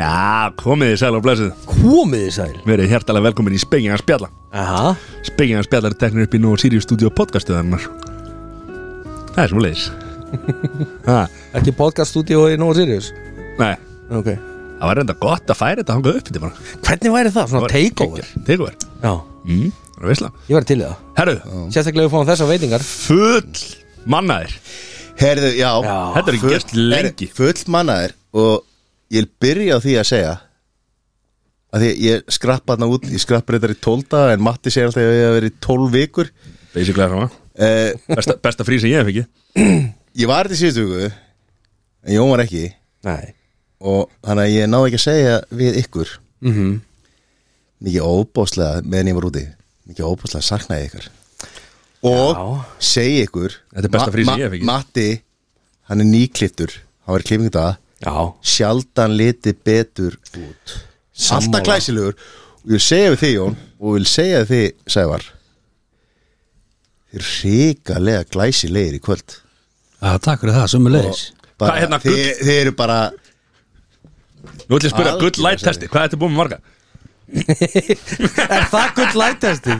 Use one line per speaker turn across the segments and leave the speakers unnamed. Já, komið þið sæl og blessuð
Komið þið sæl
Verið hjertalega velkomin í Spengina Spjalla
Aha.
Spengina Spjalla er teknir upp í Nú og Sirius Studio podcastuðarinnar Það er sem leis ha,
Ekki podcaststudió í Nova Sirius
Nei,
okay.
það var reynda gott að færa þetta hangað upp til maður
Hvernig væri það? Svona takeover
Takeover
Já,
mm, Það er veisla
ég væri til í það
Herru,
Sérstaklega við fáum þessar veitingar
full mannaðir
Herðu, já,
Já.
Þetta er ekki gert lengi
er full mannaðir og ég vil byrja á því að segja að því ég skrappa þarna út ég skrappa reyndar í 12 daga en Matti segir alltaf að ég hef verið í 12 vikur
Basically er það
uh,
Besta, besta frí sem ég hef ekki
ég var þetta í síðustu viku en Jón var ekki
Nei
og þannig að ég náði ekki að segja við ykkur
mm -hmm.
Mhm.
mikið óbáslega meðan ég var úti mikið óbáslega saknaði ykkur og
Já.
segi ykkur
Þetta er besta frí sem ég hef fengið.
Matti, hann er nýklittur hann var í klippingu í dag
Já
sjaldan liti betur út alltaf glæsilegur og ég segja við þig Jón og vil segja við þig Sævar þið er ríkalega glæsilegir í kvöld
Já, takk fyrir það, sömu leiðis
bara,
Hvað, hérna,
þið, þið eru bara
Nú ætlum ég að spyrja,
Algjörlega,
gull light testi Hvað ertu búin með marga?
Er það gull lætasti?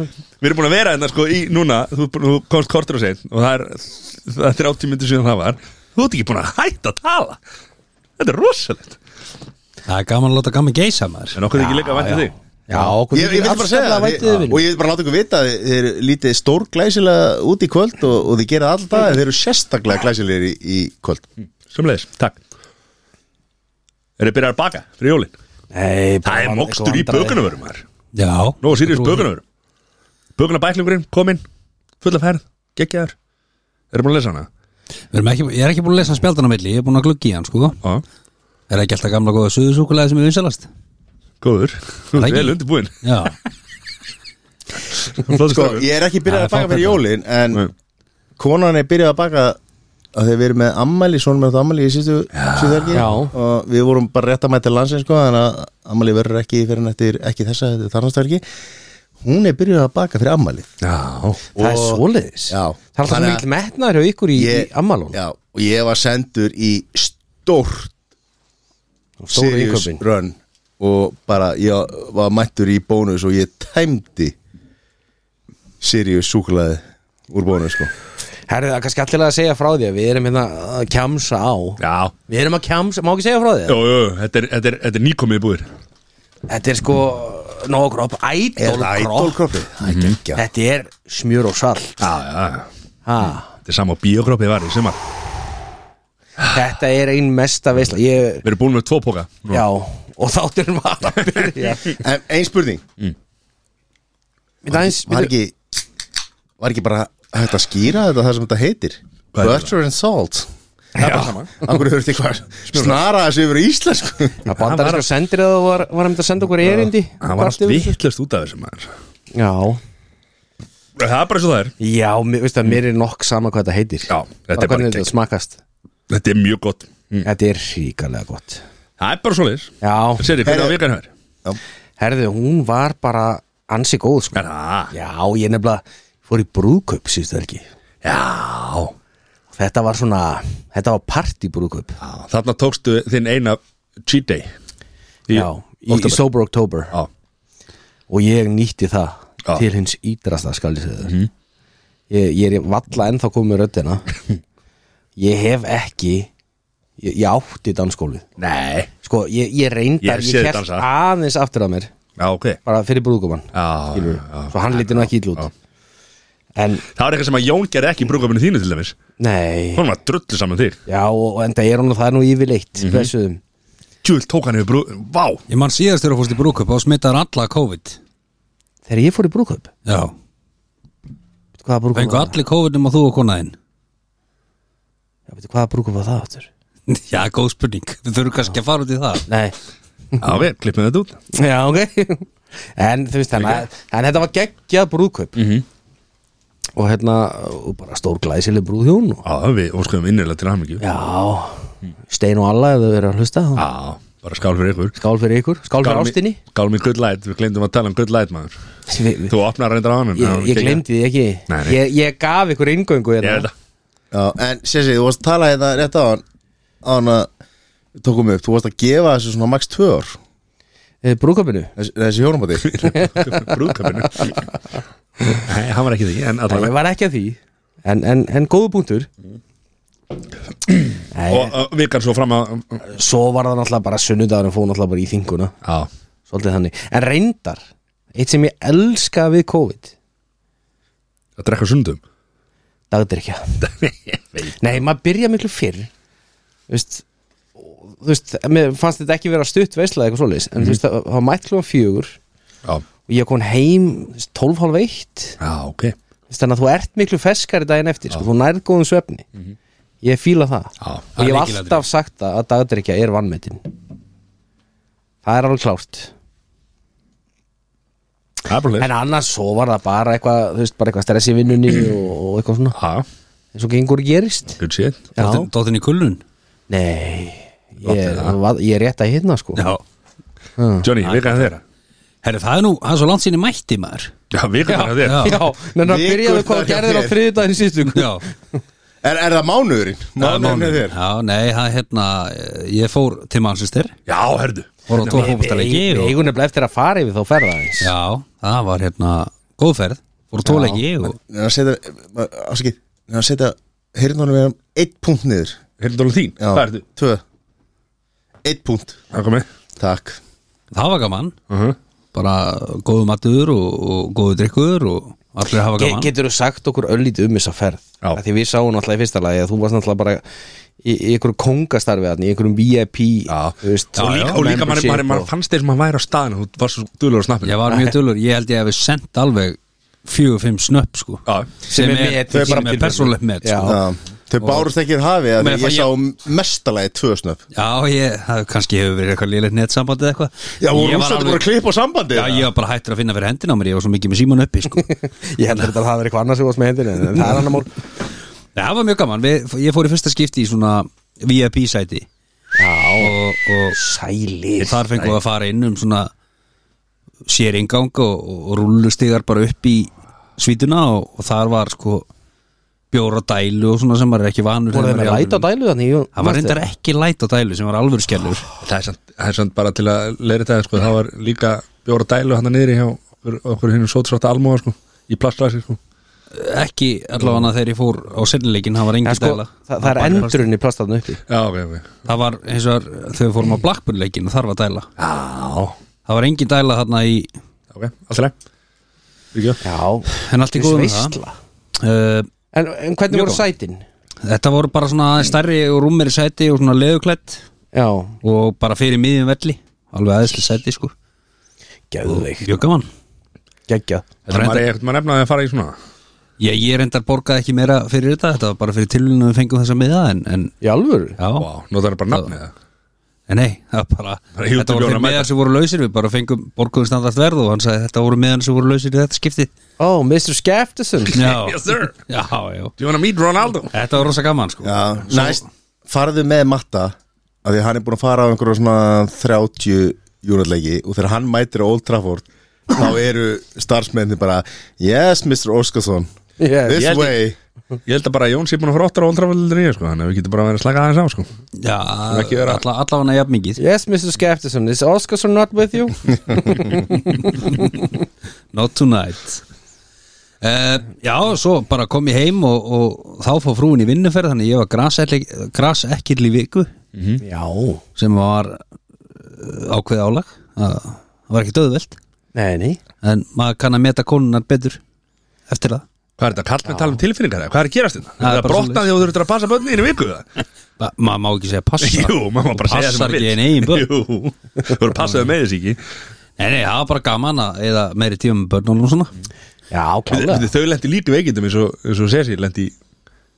Við erum búin að vera hérna sko í núna Þú, þú komst kortur og sein Og það er, það er 30 myndir síðan það var Þú ert ekki búin að hætta að tala Þetta er rosalegt
Það er gaman að láta gaman geisa maður
En okkur er ekki líka að vænta þig
Já, okkur
ég, ég vil bara segja
um
það
væntið
þið-
við
og ég vil bara láta ykkur vita að þið eru lítið stór glæsilega út í kvöld og, og þið gera alltaf en þið eru sérstaklega glæsilegir í, í kvöld
Sumleis, takk Er þið byrjað að baka fyrir jólin?
Nei,
Það er mokstur í bökunavörum maður
Já
Nó, sýrjus bökunavörum Bökunabæklingurinn, kominn Full af herð, geggjaður Erum búin að lesa hana?
Við erum ekki, Ég er ekki búin að lesa spjaldan á milli, ég er búin að gluggi í hann sko
Já,
Er ekki alltaf gamla góða suðusúkulega sem er vinsalast
góður Þú ert
Það ekki.
vel undirbúinn
Já,
Sko,
sko, ég er ekki byrjað
Já,
að baka
fá
fyrir
þetta.
jólin en
Nei.
konan er byrjað að baka að þegar við erum með ammæli svona með ammæli í síðustu síðarki
Já.
og við vorum bara rétt að mæta landsins sko, þannig að ammæli verður ekki fyrir nættir ekki þessa þarnastverki hún er byrjað að baka fyrir ammæli
Já,
Það er
Og-
svoleiðis
Já.
Það er alltaf
Þannig
svo
að-
mikil metnaður hjá ykkur í, í ammalón
já, og ég var sendur í stórt
Stóru
serious
innkaupin
run og bara ég var mættur í bónus og ég tæmdi Sirius súklaði úr bónus sko
Herrið, það er kannski allir að segja frá því að við erum hérna að kjamsa á
já
Við erum að kjamsa, má ekki segja frá því?
Jú, jú, þetta er, þetta er, þetta er nýkomið búir
Þetta er sko nógróp, ædolkróp
idolkroppi? Það er geggja
Þetta er smjur og salt
Já, já, já
ha.
Þetta er sama biokroppið var í sumar
Þetta er ein mesta veisla ég,
Við erum búin með tvo póka
Já, og þátturinn var að byrja
En ein spurning
Við aðeins,
var
við,
ekki, var ekki bara hægt að skýra þetta það sem þetta heitir
Hvað heitir
Butter and Salt
Það er bara sama
Akkur þurfti eitthvað snara þessu yfir í íslensku
að bandar sko sendir það var, var að mynda að senda okkur erindi
Það var allt
Kvartu-
vittlust út af þessu maður
Já,
Það er bara svo það er
já, mér, veistu að mér er nokk sama hvað þetta heitir
Já, þetta er
Og
bara
hvernig þetta
gegn.
smakast
Þetta er mjög gott Mm.
Þetta er ríkalega gott
Það er bara svo leis
Já,
Sér ég, hvernig að
Herri.
vikan hér
herðu, hún var bara ansi góð sko.
Er það?
Já, ég nefnilega fór í brúðkaup síðustu helgi
Já
Þetta var svona, þetta var partybrúðkaup
Þarna tókstu þinn eina cheat day Í-
Já, í, í
október.
Sober October
Já
og ég nýtti það
Já.
til hins ídrasta skal ég segja þér
Mhm.
ég, ég er valla ennþá komið með röddina ég hef ekki ég, ég átti danskólið
Nei
sko, ég, ég reyndar,
Ég
ég,
sé þig
hélt
dansa.
aðeins aftur að mér
Já, ok
bara fyrir brúðkumann
Já, já.
svo hann líti nú ekki ítl út en,
Það var eitthvað sem að Jón gerði ekki í brúkabinu þínu til dæmis
nei
Hún var drullu saman þig
já, og, og enda er hún og það er nú yfirleitt
Mhm.
mm
Tjúl tók hann yfir brú Vá
ég man síðast þegar þú fórst í brúkup og smittar alla COVID
þegar ég fór í brúðkaup
Já,
veitu hvaða brúðkaup
fengu
var það?
allir COVID um að þú og konaðinn
Já, veitu hvaða brúðkaup var það áttur
Já, góð spurning, við þurfum kannski að fara út í það
nei,
Já, ok, klippum þetta út
Já, ok En þú veist, þannig að en þetta var geggjað brúðkaup -hmm.
Mhm.
Og hérna, og bara stór glæsileg brúðhjón og,
Já, við óskuðum innilega til hamingju
Já,
Mm.
stein og alla ef þau verið að hlusta þá.
Já, bara skál fyrir ykkur
Skál fyrir ykkur, skál fyrir
Ah. Skál mér-
ástinni
Skál mér good light, við glemdum að tala um good light maður
Vi, vi,
Þú opnar reyndar á hann en-
Ég,
Já,
ég glemdi því ekki
Nei, nei.
Ég, ég gaf ykkur inngöngu
Ég veit
hérna.
það
Já, en Sessi, þú varst að tala hérna rétt á hann á hann að Við tókum upp, þú varst að gefa þessu svona max 2 ár
Eh, brúðkaupinu?
Þessi, þessi hjónabandi
brúðkappinu Nei, hann var ekki því En
Nei,
allavega
ég var ekki að því En, en, en góðu punktur Nei,
Og uh, vikar svo fram að
svo var það náttúrulega bara sunnudagurinn fóð náttúrulega bara í þinguna
Já,
Svolítið þannig En reyndar, eitt sem ég elska við COVID
að drekka sundum
Dagdrykja Nei, maður byrja miklu fyrr Þú veist og- Þú veist, mér fannst þetta ekki vera stutt veisla eitthvað svoleiðis En þú veist,
Mhm.
það það var mætt klúan fjögur
Já,
Og ég kom heim þú veist, 12 hálf eitt
já, ok Já,
Þú veist, Þannig að þú ert miklu feskari daginn eftir sko, Þú nærð góðum svefni Ég fíla það
Mhm. það
Og
er
ég hef
lykilatriði.
alltaf sagt það að dagdrykja er vannmetin Það er alveg klárt
það er bara leið
En annars svo var það bara eitthvað Þú veist, bara eitthvað stress í vinnunni og, og eitthvað svona
Já,
eins og gengur gerist
good shit
Já,
Dóttin í kulun
nei Ég, var, ég er rétt að hérna sko
Já
Johnny, vikar það þeirra
Herri, það er nú, það er svo langt sinni mætti maður
Já, vikar það þeirra
Já,
Já, en það
Vikurnar
byrjaði hvað
hjá
gerðir á
þér.
þriðudaginn sístu
já
er, er það mánuðurinn? Mánuðurinn er þér
Já, nei, það er hérna eh, Ég fór til Manchester
Já, herðu
Fór á tvo fótboltaleiki
Við
og-
eigum nefnilega eftir að fara yfir þá ferða eins
Já, það var hérna góðferð Fór á tvo leiki og
En að setja, ma- afsakið En að setja heyrðunum við um 1 punkt niður
Heyrndólu þín,
Já,
hvað ertu?
2 1 punkt,
Það komið
takk
það var gaman
uh -huh.
Bara góðu matur og, og góðu drikkur og allir hafa
Ge
gaman
Getur þú sagt okkur öllítið um þessa ferð
Já.
Af Því við sáum náttúrulega í fyrsta lagi að þú varst náttúrulega bara í, í einhverjum kongastarfi þarna, í einhverjum VIP
Já.
þú veist,
og líka, og líka maður, maður, maður fannst þeir sem maður væri á staðinu Þú varst svo duðlega á snappinu
Ég var mjög dölur, ég held ég hefði sendt alveg fjögur, fimm snöpp sko
Já,
Sem er
sem
met í
er
sínum tilfellum.
persónulegt met
Já.
sko.
Já, Þau bárust ekki um hafið
Nei,
að
það
ég sá mestalagi 2 snöpp
Já, ég, það kannski hefur verið eitthvað lélegt netsamband eða eitthvað
Já, og
Ég var
rústandi
alveg-
voru að klippa á sambandi
Já, ég var bara hættur að finna fyrir hendina á mér, ég var svo mikið með síman uppi sko. Nei,
Ég held að þetta hafi verið eitthvað annars sem varst með hendinu en það er annar mál
Það var mjög gaman, Við, ég fór í fyrsta skipti í svona VIP sæti
Já,
og, og
sælir
þar fengum við að fara inn um svona sér ingang og, og rullustigar bara upp í svítuna og, og þar var sko bjóra dælu og svona sem maður er ekki vanur
Voru
þegar
þeim
maður er
að
í
læta á
alvöru-
dælu þannig
Það var reyndar ekki læt á dælu sem var alvöru skellur
það er samt, það er samt bara til að leira þetta sko. það var líka bjóra dælu hann niðri hjá okkur, okkur hinn sótsvarta almóa sko, í plastlæsi sko.
Ekki allavega þegar ég fór á sennileikin, það var engin
En sko,
dæla
það, það er endurinn í plastaðinu uppi
já, ok, ok
Það var eins og þegar við fórum á Blackburn-leikin og þar var dæla
já,
Það var engin dæla þarna í
ok, alltaf leið
Já,
En allt í góðu með það
veistla
uh,
En, en hvernig
Mjög
voru
gaman.
sætin?
Þetta voru bara svona aðeins stærri og rúmeri sæti og svona leðuklett
Já,
og bara fyrir miðjum velli Alveg aðeinsli sæti sko
geðveik,
Mjög gaman
geggjað
þetta
Reyndar-
maður ekkert maður nefnaði að fara í svona
Ég, ég reyndar borgaði ekki meira fyrir þetta Þetta var bara fyrir tilvíðinu við fengum þessa miða en, en,
Í alvöru?
já,
Vá, notar bara nafnið það
en nei, það var bara
Bara hjúptu
Þetta voru
bjóra
fyrir
að mæta.
miðar sem voru lausir Við bara fengum borguðum standart verð og hann sagði Þetta voru miðan sem voru lausir í þetta skipti
Ó, Mr. Skefterson
Já,
Yes, sir.
já, já
do you wanna meet Ronaldo?
Þetta var rosa gaman sko
Já, næst farðu með matta af því að hann er búin að fara á einhverja svona 30 júnatleiki og þegar hann mætir á Old Trafford þá eru starfsmenni bara Yes, Mr. Óskarsson
Yeah.
This
Ég held-
way
ég held að bara Jón sé búin að fara óttar á óldraföldur í sko, þannig að við getum bara verið að slaka aðeins á sko.
Já,
ekki vera-
alla, allafana jafn mikið
Yes, Mr. Skefterson, is Oscarson not with you?
Not tonight uh, Já, svo bara kom ég heim og, og þá fór frúin í vinnuferð þannig að ég var grasekkil- grasekkil í viku
Já
sem var uh, ákveð álag það það var ekki döðveld
Nei, nei
en maður kann að meta konunar betur eftir það
hvað er þetta, kall með tala um tilfinningar eða? hvað er að gerast þetta?
Það er
það er
bara
brotnaði og þú þurftur að passa börnin í viku eða?
Ma- maður má ekki segja passa
Jú, maður má bara
Þú
segja sem
passar
maður
ekki
vill.
einn eigin börn
Jú, þú eru passaðu með þess ekki
nei, nei, það var bara gaman að eða meiri tíma með börnunum og svona
Já,
Við-
klálega
við- Þau lendi líka veikindum eins og, eins og Sesi lendi í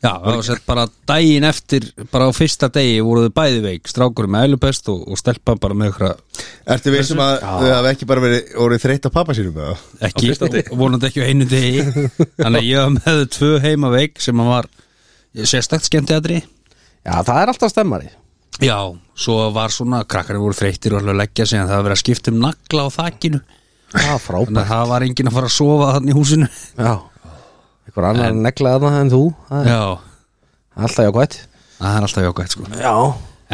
já, það var sett bara daginn eftir bara á fyrsta degi voru þau bæði veik strákur með ælupest og, og stelpa bara með ykkur
Ertu við sem að þau hafa ekki bara verið orðið þreytt á pappa sínum með það?
ekki, vonandi ekki á einu degi þannig að ég var með þau tvö heima veik sem að var sérstakt skemmtiðatri
Já, það er alltaf stemmari
já, svo var svona krakkarinn voru þreyttir og alveg að leggja sig en það var verið að skipta um nagla á þakkinu
Já,
þannig
frábært
að það var enginn að fara að sofa þannig í húsinu
Já Einhver annar neglaði þarna en þú Það er
já,
Alltaf jákvætt
það er alltaf jákvæmt sko
Já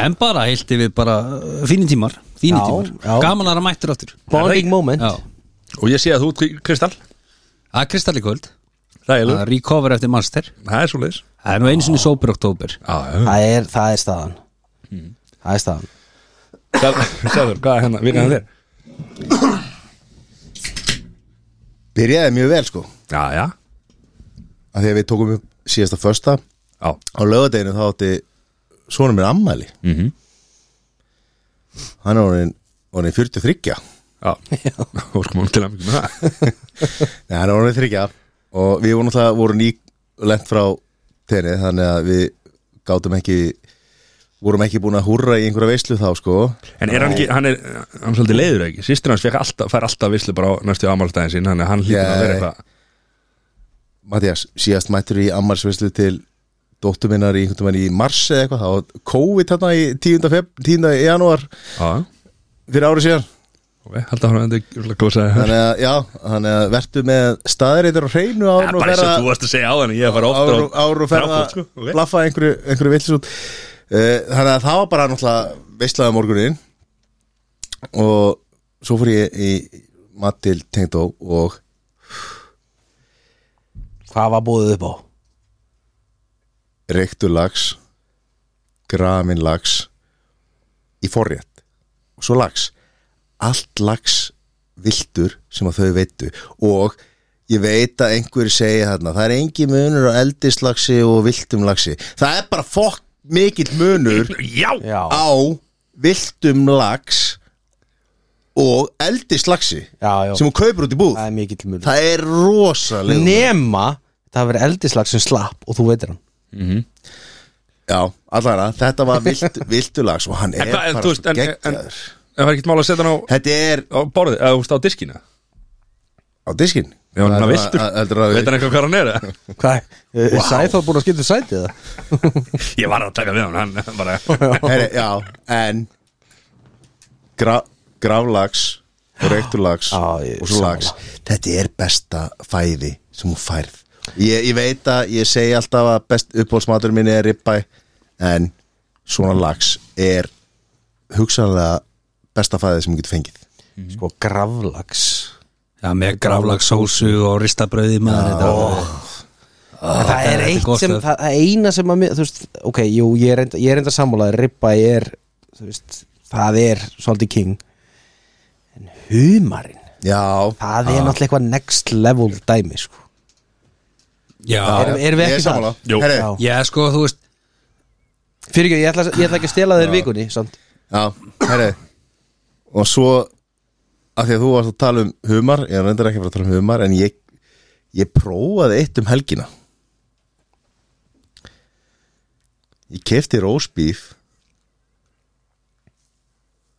En bara heilti við bara uh, fínir tímar, fínir
Já,
tímar.
já.
Gaman að það mættur áttur
Bonding moment
Já,
Og ég sé að þú, ert Kristall
það er kristalli kvöld
Það er
að
lúð
recover eftir master
Það er svo leiðis
Það er nú einu sinni sópur oktober
það, er, það er staðan Það er staðan
Sæður, hvað er hérna? hennar, virkar hann þér?
Byrjaði mjög vel sko
Já, já,
að því að við tókum upp síðasta första
já
á lögadeginu þá átti svona mér ammæli
Mhm.
hann er orðin, orðin 43
Já, og sko mún til að mikið með það
Nei, hann er orðin 43 og við vorum alltaf voru ný lent frá tenni þannig að við gátum ekki vorum ekki búin að húrra í einhverja veislu þá sko
En er hann ekki, hann er, hann er svolítið leiður ekki Sýstir hans fekk alltaf, fær alltaf vislu bara á næstu ámálstæðin sín Þannig að hann hlýtur að vera
Nei.
eitthvað
Mattias, síðast mættur í ammarsveislu til dóttur minnar í einhvern veginn í mars eða eitthvað, það var COVID þarna í 10. Feb, 10. janúar
Já,
fyrir árið síðan
ok, haldið að hann endur Júlega góðsaði það
þannig að, já, þannig að vertu með staðreitur á hreinu
Það
ára
er
og
bara eins
ferða
og þú varst að segja á hann Ég er bara ofta
ára, ára og ferða
sko, ok.
blaffa einhverju, einhverju villis út Eh, þannig að það var bara náttúrulega veislaða morgunin og svo fór ég í mat til tengdó og
Hvað var búið upp á?
reyktur lags gramin lags í forrétt og svo lags allt lags viltur sem að þau veitu og ég veit að einhverju segja þarna það er engin munur á eldislagsi og viltum lagsi það er bara fokk mikill munur
Já,
Já,
á viltum lags og eldislagsi
já, já
sem hún kaupir út í búð
Það er mikill mjög
það er rosalega
Nema það hafi verið eldislag sem slapp og þú veitir hann
já, allara, þetta var vilt, viltulags og hann
En
er
hvað- en þú
bara
veist,
svo
en- en-
geggjaður
En það er ekkert mál að setja hann á,
Þetta er
á borðið, eða þú veist á diskina
á diskinn
Já, hann er
Það
viltur,
að- heldur að-
veit hann eitthvað hvað hann er eða?
Hvað, wow. Eh, Sæþór búin að skipta um sætið það?
Ég var að taka við hann, hann bara
Herri, Já, en gra, Gravlags og Reykturlags
Já, ég-
og svo lags Þetta er besta fæði sem hún færð Ég, ég veit að ég segi alltaf að best uppbólsmatur minni er ribbæ en svona lags er hugsanlega besta fæði sem hún getur fengið
Sko, gravlags
Já, með gráflagsósu og ristabröði maður þetta var-
En Ah, það
þetta
er
er
eitt
gott
sem,
að-
það er eina sem að mér, þú veist, ok, jú, ég er enda, ég er enda sammálaði, ribba er, þú veist, það er svolítið king en humarinn
Já,
það er náttúrulega eitthvað next level dæmi, sko
Já,
Erum- erum við
ég
ekki
er sammála
þar? Jú.
Herri,
Já.
já, sko, þú veist
Fyrir ekki, ég ætla, ég ætla ekki að stela þér vikunni, sant?
Já, herri Og svo að því að þú varst að tala um humar Ég er reyndar ekki að fara að tala um humar En ég, ég prófaði eitt um helgina Ég kefti rósbíf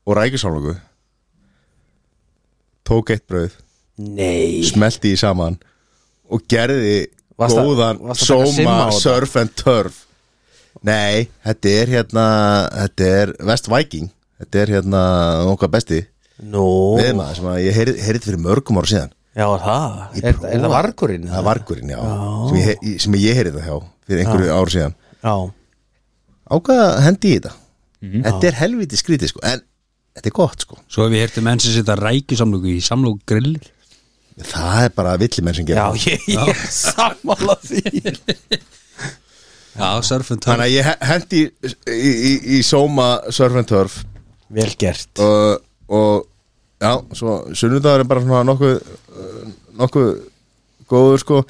Og rækjusálogu Tók eitt brauð
Nei
Smelti í saman Og gerði
Varst að-
góðan
varst að taka simma
Soma
á þetta?
surf and turf Nei, þetta er hérna Þetta er West Viking Þetta er hérna okkar besti
Nú
veðmaður sem að ég heyrði heyrði fyrir mörgum ára síðan
Já, það
Ég
Er,
prófaði-
er það vargurinn?
Það er vargurinn, já sem ég, he- sem ég heyrði það hjá fyrir einhverju ára síðan
Já
Ákvað að hendi í þetta
Mhm.
Þetta er helviti skrítið sko En þetta er gott sko
Svo hef ég um hértu menn sem setja rækjusamlöku í samlöku grill
Það er bara villimenn sem
Já,
gerir það.
ég, ég er sammála því
Já, surfum
Þannig
törn
að ég he- hendi í, í, í, í Soma surf and turf
Vel gert
og, og já, svo sunnudagur er bara svona nokkuð uh, nokkuð góður sko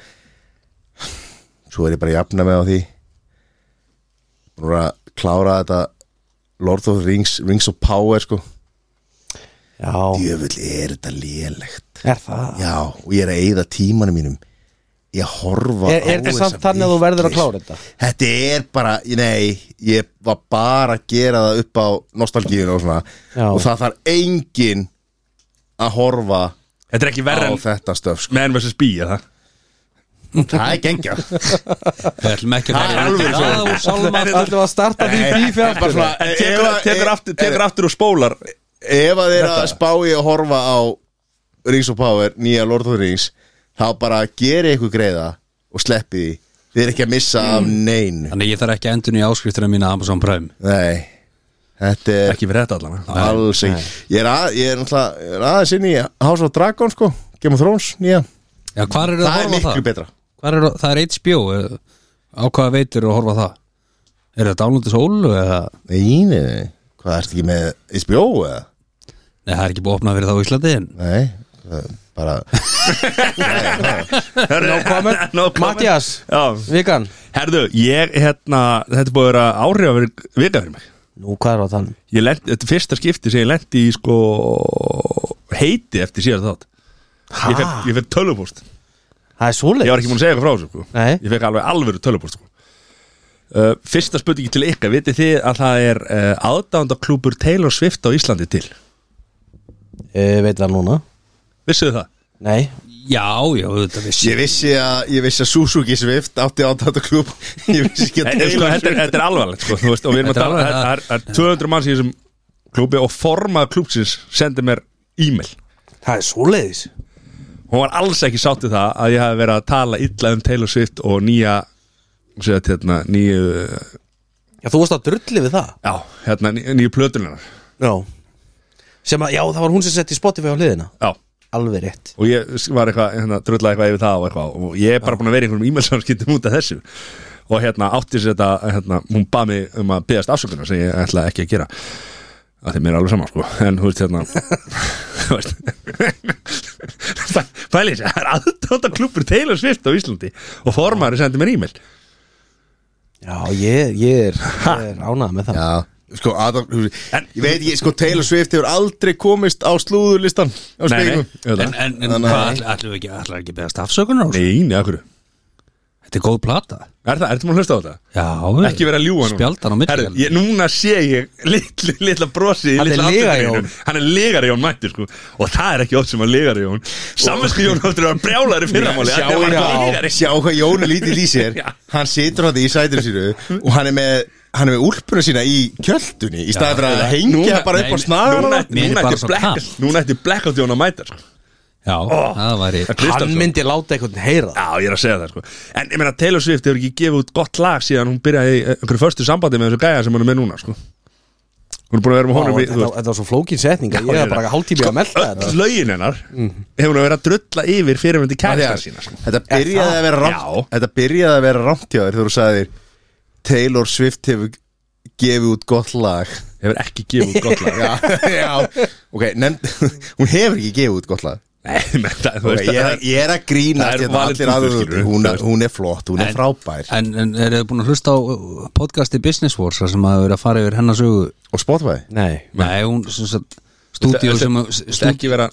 svo er ég bara að jafna með á því Búin að klára þetta Lord of the Rings, Rings of Power sko
Já
djöfull er þetta lélegt
Er það?
já, og ég er að eyða tímanum mínum ég að horfa
Er, er
á
þetta
þessa
samt þannig að þú verður að
vitleysu.
klára þetta?
Þetta er bara, nei, ég var bara að gera það upp á nostalgíun og svona
Já.
og það þarf engin að horfa
Þetta er ekki
á
verra en
þetta stöf sko.
menn versus bí, eða?
Það er gengja
Við ætlum ekki að
Það er
fara
alveg svo.
Það úr sálma
Það ætlum við að starta því bífi
bara svona,
En tekur,
ef að-
Eh, tekur, aftur,
eh,
tekur aftur og spólar
Ef að þeir að spá ég að horfa á Rings of Power, nýja Lord of the Rings þá bara geri ykkur greiða og sleppi því,
Mm.
þið er ekki að missa af neinu
Þannig að ég þarf ekki að endur í áskriftina mína á Amazon Prime
Nei, Þetta er
Ekki fyrir þetta allan
alls ekki Ég er, að, ég er, náttúrulega- ég er aðeins inn í House of Dragon sko Game of Thrones nýja
Já, hvar eru
Það,
það að
er
horfa á
miklu
það?
betra
Hvar eru, það er HBO eh, Á hvaða veitur að horfa á það? Er það dálundis ólu eða
Nei, nei, nei Hvað ertu ekki með HBO eða?
Nei, það er ekki búið að opna fyrir það á Íslandi en
Nei það er Bara
No comment, no
Mattias,
Já,
vikan
herðu, ég, hérna, þetta er búið að vera áhrif að vera vika fyrir mig
Nú, hvað er á þann?
Ég lent, þetta er fyrsta skipti sem ég lenti í, sko, heiti eftir síðan þátt Ég fekk, ég fekk tölvupóst
Það er svoleið
Ég var ekki múin að segja eitthvað frá þessu, sko
Nei.
Ég fekk alveg alvöru tölvupóst, sko Uh, fyrsta spurningi til ykkar, vitið þið að það er uh, aðdándaklúpur Taylor Swift á Íslandi til
Ég Eh, veit það núna
Vissuðu það?
Nei,
Já, já, þetta vissi
Ég vissi að, ég vissi að Suzuki Swift átti á þetta klub Ég vissi ekki að
Nei, sko,
Taylor
þetta, er, þetta er alvarlegt sko, þú veist, og við erum að
Þetta er
tala
alvarlegt,
það er, það er 200 manns í þessum klúbi og formað klúbsins sendi mér e-mail
það er svoleiðis
hún var alls ekki sátt við það að ég hafi verið að tala illa um Taylor Swift og nýja sér, hérna, nýju
Já, þú varst að drulli við það
já, hérna, ný- nýju plötunar
Já Sem að, já, það var hún sem sett í Spotify á hliðina
já,
Alveg rétt
og ég var eitthvað hérna, drulla eitthvað yfir það og eitthvað og ég er bara búin að vera í einhverjum e-mail samskiptum út af þessu og hérna átti sér þetta hérna, hún bað mig um að beðast afsökunar sem ég ætla ekki að gera að því mér er alveg saman sko en þú veist hérna þú veist fæli þessi, það er aðdóta klubur Taylor Swift á Íslandi og formari sendi mér e-mail
Já, ég, ég er, ég er ánað með það
Já, sko, Adam,
En-
ég veit ekki, sko, Taylor Swift hefur aldrei komist á slúðurlistan á
Nei, nei,
spegum
auðvitað.
En, en, en
Þannig að-
hvað ætl- ætlum við ekki, ætlum við ekki beðast afsökunar á þessu?
nei, neða, hverju
Þetta er góð plata
Er það, ertu maður að hlusta á þetta?
Já,
Ekki vera að ljúga núna
Spjaldan á milli.
Herru, ég, Núna sé ég litla, litla brosi
Hann er lygari Jón.
Hann er legari Jón mættir sko Og það er ekki oft sem að legari Jón Samvinsku Jón áttur að vera brjálari fyrramáli
Sjá,
Hann
já,
var legari
sjá hvað Jónu lítið í sér
Já.
Hann situr hann í sætur sínu og hann er með, hann er með úlpuna sína í kjöldunni í staði fyrir að
nei,
hengja
núna-
bara upp á
nei,
snagan
Núna,
Mér er
núna,
bara
ætti
svo
black-
kalt.
núna ætti blackout Jón að mæta sko.
Já, það væri
Það kristar,
Hann
sko.
myndi láta einhvern heyra það
Já, ég er að segja það sko En ég meina Taylor Swift hefur ekki gefið út gott lag síðan hún byrjaði í eh, einhverju förstu sambandi með þessu gæja sem hún er með núna sko Hún er búin að vera með
Vá,
honum í,
Þetta
þú veist,
þetta var svo flókin setning að Ég er bara hálftími að melta þetta
Öll lögin hennar hefur hún að vera að drulla yfir fyrirvendir kæsta sína sko.
Þetta byrjaði
það?
að vera
Já.
rámt Þetta byrjaði að vera rámt hjá þér þegar þú sagðir Taylor Swift hefur gefið út gott lag
hefur ekki gefið út gott lag
Já, já Ok, nefnd, hún hefur ekki gefið út gott lag
Nei, menn, það, þú
Ok,
veist
ég, er,
það-
ég er að grína
Það er
hérna,
valið
allir
punktur,
aðeins
skilur við.
hún, er- hún er flott, hún er frábær
En, en er þið búin að hlusta á uh, podcasti Business Wars þar sem að þau eru að fara yfir hennasögu
Og Spotify
Nei
Nei, hún sem sagt stúdíó
Þetta-
sem
þetta- þetta ekki vera-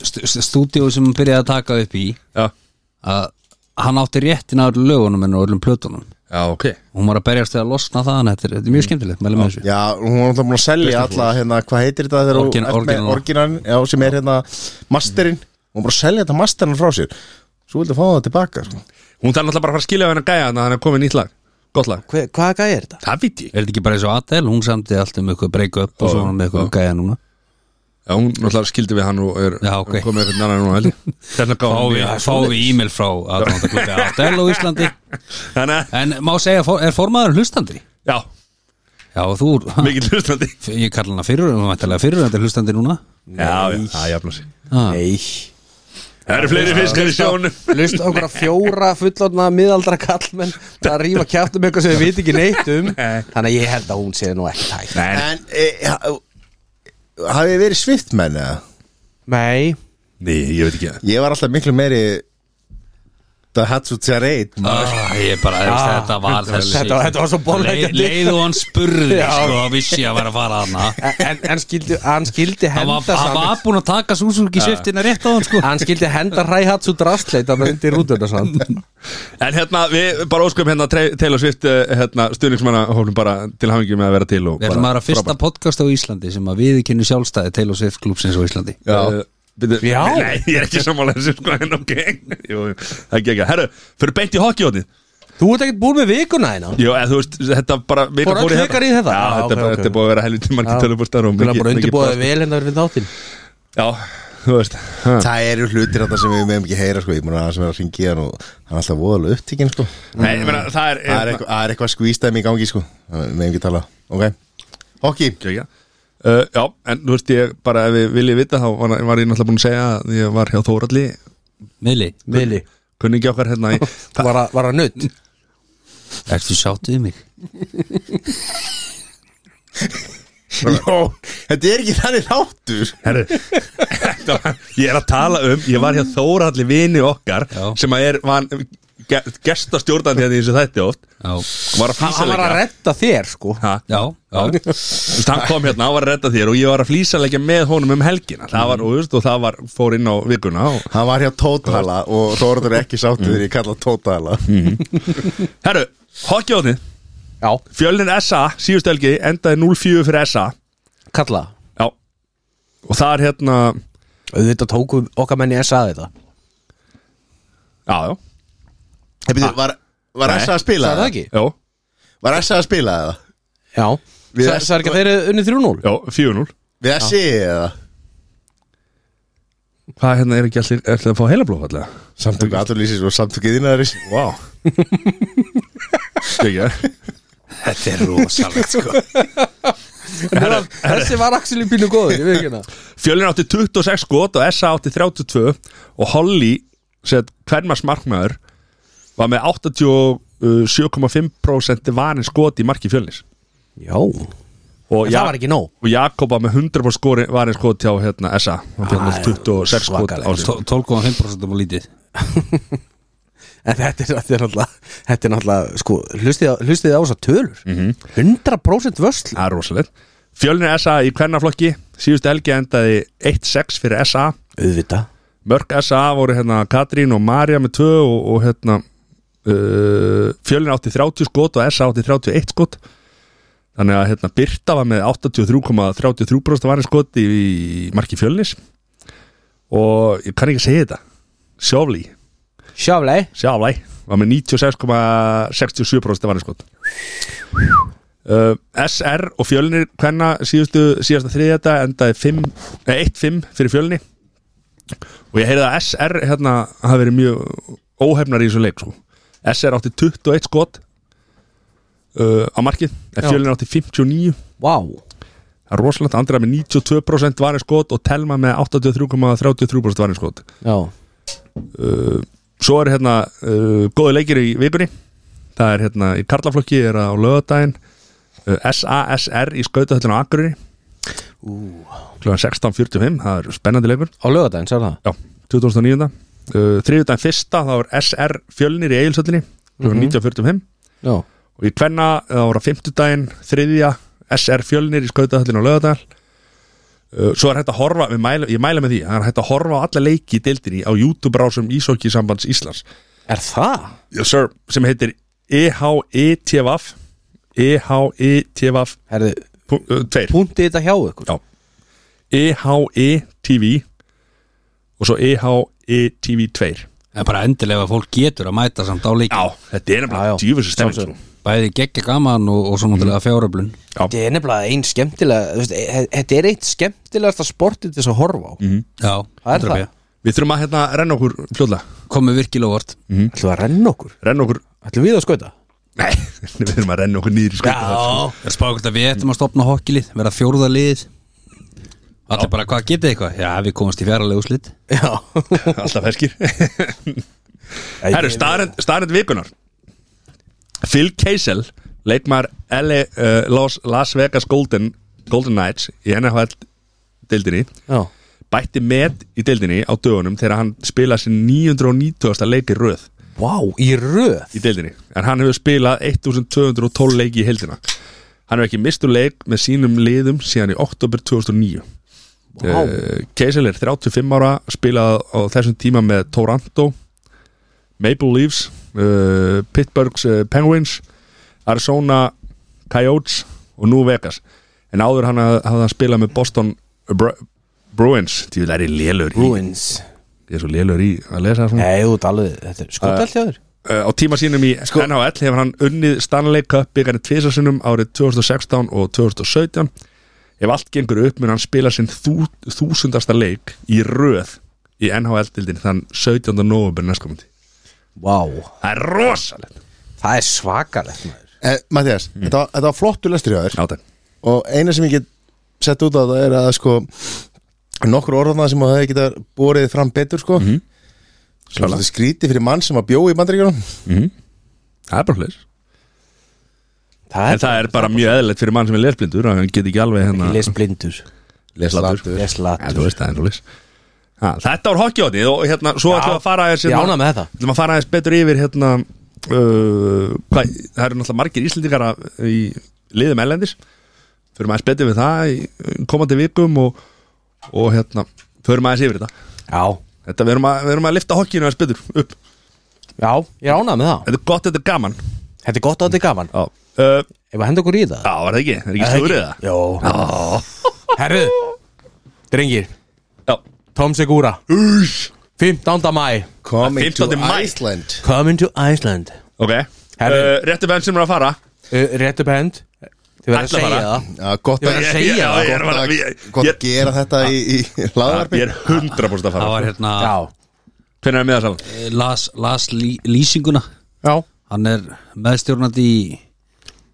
stúdíó sem hún byrjaði að taka upp í
Já,
að hann átti réttin á öllum lögunum en á öllum plötunum
já, ok
hún var að berjast við að losna það en þetta er, þetta er mjög skemmtilegt mælum með þessu
Já, hún var alltaf búin að selja alla hérna, hvað heitir þetta þegar
Orgin- orginalna.
orginan, já, sem er hérna masterinn, hún var bara að selja þetta masterinn frá sér, svo vildi að fá það tilbaka sko.
Hún þarf náttúrulega bara að fara að skilja á hennar gæja þannig að hann er komið nýtt lag, gott lag
Hve- Hvaða gæði er þetta?
Það veit ég
Er þetta ekki bara eins og Adele, hún samti allt um eitthvað breyku upp og
Já,
svo var hún með eitthvað
já.
gæja núna
Já, hún náttúrulega skildi við hann og er
Já, ok.
er komið eitthvað annar núna held ég. Þarna gáði
Fá
hann
við,
nýja-
fá við e-mail frá aðdáendaklubbi Adele á Íslandi
Þannig að,
En má segja, for- er formaður hlustandi?
já,
Já, þú,
mikið hlustandi
ég kalla hana fyrir, hún ætlaði fyrir þetta hlustandi núna
Já, já, það jafna sig
ah.
Nei
Það eru fleiri fiskar í sjónu
Lust á okkur að fjóra fullorna miðaldra kallmenn að rífa kjátt um eitthvað sem við viti ekki neitt um Þannig að ég held að hún sé nú ekki tæk
Nei,
En e, ha- hafið þið verið sviftmenn eða?
Nei
nei, ég veit ekki að
Ég var alltaf miklu meiri The Hatsu Tjareit
Ah, ég bara, ah,
Ah,
þetta var þessi
þetta var- þetta var svo bolleggjandi.
Leið- Leið og hann spurði,
Já.
sko, þá vissi ég að vera að fara hana
En, en skildi, hann skildi
Hann
henda
var, hann
samt-
var búin að taka Suzuki sviftina rétt á hann, sko
Hann skildi henda hræhatsu drastleit að undir rútuna samt
En hérna, við bara óskum hérna Tre- Taylor Swift, eh, hérna, stuðningsmanna hófnum bara til hafingi með að vera til og
Við ætlum að vera fyrsta podcast á Íslandi sem að við kynni sjálfstæði Taylor Swift klúpsins á Íslandi
Já, byrju,
Já.
Nei, ég er ekki sammála þessu sko En ok, jú, jú, það er ekki ekki Herru, fyrir beint í hockeyhóttið
Þú ert ekkert búin með vikuna hérna
Jú, eða þú veist, þetta bara vika
Fór öll
í
vikar í þetta?
Já,
Já,
þetta,
ok,
okay,
ok.
þetta er búið að vera helviti margir tölubústar og
Þú er
mikið
bara undirbúið
brast.
vel hérna við þáttinn
Já, þú veist ha.
Það eru hlutir þetta sem við meðum ekki heyra sko. Ég mun að hann sem er að ringi hann og hann er alltaf voðalega upptíkin sko.
Nei, ég meina, það er
Það er eitthvað, það er eitthvað skvístæmi í gangi sko. Við meðum ekki tala Ok, hockey
eitthvað Uh, já, en þú veist ég bara ef við viljið vita þá var, var ég náttúrulega búin að segja að ég var hjá Þóralli
Mili,
Vili,
kunningi okkar hérna í,
var að- var að nutt
ertu sáttu við mig?
Jó, þetta er ekki þannig þáttur
Herru, þetta var- ég er að tala um ég var hjá Þóralli vini okkar
Já.
sem að er van, ge, gestastjórnandi hérna í þessu þætti oft
Já,
var að
Hann var
flýsaleggja
að redda þér sko
Ha,
já, já,
þú veist, hann kom hérna, hann var að redda þér og ég var að flýsaleggja með honum um helgina það var, og, þú veist, og það var, fór inn á vikuna og,
Hann var hjá Tótala og Þórður er ekki sáttur þegar ég kalla hann Tótala
Herru, hokkjóðni
Já,
Fjölnir SA, síðustu helgi, endaði 0-4 fyrir SA
kalla
Já Og það er hérna
Auðvitað tóku okkar menni SA þetta
Já, já,
Hey, byrju, Var, var
Nei.
SA að spila
Sagði það ekki?
já,
Var SA að spila eða?
Já
Við-
Sa- Sagði ekki að þeir eru unnið 3-0
já 4-0
Við SI eða?
Hvað hérna er ekki allir, er það að fá heilablóð allir?
Samtök aturlýsins og sko, samtökið innarins
Vá wow. Skekja
þetta er rosalegt sko
Herra,
Þessi var Axel í pínu góður, ég veit ekki hérna
Fjölnir átti 26 skot og SA átti 32 og Holly, sett hvernmars markmaður var með 87,5% vaninn skot í marki fjölnis
Já En
og,
það var ekki nóg
og Jakob var með 100% skori, vaninn skot hjá hérna, SA hann
Ah,
fjöndið 26 skot
svakalegt.
á sig
12,5% var lítið
En þetta er, þetta er náttúrulega, þetta er náttúrulega, sko, hlustið á- hlustið á þess að tölur 100% vösl
Það er rosalegt Fjölnir SA í kvennaflokki Síðustu helgi endaði 1-6 fyrir SA
Auðvitað
Mörk SA voru hérna Katrín og Marja með 2 og, og hérna uh, Fjölnir átti 30 skot og SA átti 31 skot Þannig að hérna Birta var með 83,33% varin skot í, í marki fjölnis og ég kann ekki segja þetta Sjáflí,
Sjáflei
Sjáflæ var með 96,67% varninskot uh, SR og fjölnir hvenna síðustu, síðasta þriðjata endaði 5, nei, 1-5 fyrir fjölni og ég heyrði að SR hérna hafi verið mjög óhefnar í þessu leik sko. SR átti 21 skot uh, á markið en
Já.
fjölnir átti 59
Vá
það er rosalegt, Andra með 92% varninskot og Telma með 83,33% varninskot
Já
uh, svo er hérna uh, góði leikir í vikunni það er hérna í Karlaflokki er á lögadaginn uh, SASR í skautahöllin á Akureyri kl. 16.45 það er spennandi leikur
Á lögadaginn, sér það
já, 2009 uh, þriðudaginn fyrsta þá er SR fjölnir í Egilshöllinni kl. 19.45
Já
og í kvenna þá er á fimmtudaginn þriðja SR fjölnir í skautahöllin á lögadaginn Uh, svo er hægt að horfa, við mæla, ég mæla með því það er hægt að horfa á alla leiki í deildinni á YouTube-rásum Ísóki sambands Íslands
Er það?
yes, sir, sem heitir E EHETVF E EHETVF
Herðu,
pu- uh, tveir. E
púntið þetta hjá ykkur
Já. EHETV og svo E EHETV2
En bara endilega að fólk getur að mæta samt á leik
Já, þetta er
Já, já.
nefnilega djúfis stemming
Sjálfsögðu.
sko.
Bæði geggja gaman og,
Mhm.
og svo náttúrulega fjáröflun
Þetta er nefnilega einn skemmtilega þú veist, e- e- Þetta er eitt skemmtilegasta sportið til þess að horfa á
Já,
Það er
100p.
Við þurfum að hérna renna okkur fljóðlega
Komið virkilega vort
Ætlum við að renna okkur?
Renna okkur,
Ætlum við að skauta?
nei, við þurfum að renna okkur nýri sko.
Er spáð hvort að við ættum að stopna hokkilið Verða fjórða liðið Allir bara hvað getið eitthvað Já, við komumst í fjárlega úslit
Já
Alltaf ferskir Herru, starrend, starrend vikunar Phil Keisel leikmaður LA, uh, Los, Las Vegas Golden, Golden Knights í NHL deildinni
Já
bætti met í deildinni á dögunum þegar hann spilaði sér 990. leiki í röð
Vá, í röð
í deildinni en hann hefur spilað 1212 leiki í heildina hann hefur ekki mistu leik með sínum liðum síðan í oktober 2009
Vá.
Eh, Keisel er 35 ára spilað á þessum tíma með Toronto Maple Leafs uh, Pittsburghs uh, Penguins Arizona Coyotes og nú Vegas en áður hann hafði hafði hann spilað með Boston Bru Bruins því það er í lélur í,
Bruins
ég er svo lélur í að lesa svona
Nei, þú ert alveg, þetta er skotelt hjá þér
Uh, á tíma sínum í NHL hefur hann unnið Stanley Cup byggarnir tvisasunum árið 2016 og 2017 ef allt gengur upp mun hann spila sinn þú, þúsundasta leik í röð í NHL-dildin þann 17. november næstkomandi
Vá,
það er rosalegt
það er svakalegt maður
eh, Mattias, þetta, var- þetta var flottu lestur hjá þér
Átæk.
Og eina sem ég get sett út á það er að sko nokkur orðana sem að það geta borið fram betur sko mm -hmm. skríti fyrir mann sem að bjói í bandaríkjunum
Það er bara hlust
Það
En
er
það er bara mjög eðlilegt fyrir mann sem er lesblindur að hann geti ekki alveg hérna
les blindur
leslatur
Les latur.
Ja, þú veist, það er svoleiðis. Ha, Þetta var hokkjótið og hérna svo ætlum við að fara aðeins
Ég
hérna-
ánað með þetta
ætlum að fara aðeins betur yfir hérna uh, hvað, það eru náttúrulega margir íslendingar að- í liðum ellendis förum aðeins betur við það í komandi vikum og, og hérna förum aðeins yfir þetta
Já,
Þetta við erum að, við erum að lifta hokkinu aðeins betur upp
já, ég er ánað með það
Þetta er gott, þetta er gaman
Þetta er gott að þetta er gaman
Já, uh,
Ef að henda okkur í það
já var það ekki, það er ekki slúrið það
Jó Herru, drengir
Já,
Tom Segura 15. mæ
Coming to
15. maí.
Iceland
Coming to Iceland
ok uh,
Herri.
Réttu benn sem er að fara
uh, Réttu bend Þið verða að
Ætla
segja
bara.
það
Já, gott
Ég
að,
verð
Ég-
að segja
ég- já,
það,
ég er
gott
bara-
að,
ég-
gott að
ég-
gera þetta í, í
Ég
laðarpi
er 100% að
Það var
fara
hérna
Já,
Hvernig er miðasal?
eh, Las, las lí, lýsinguna
já
Hann er meðstjórnandi í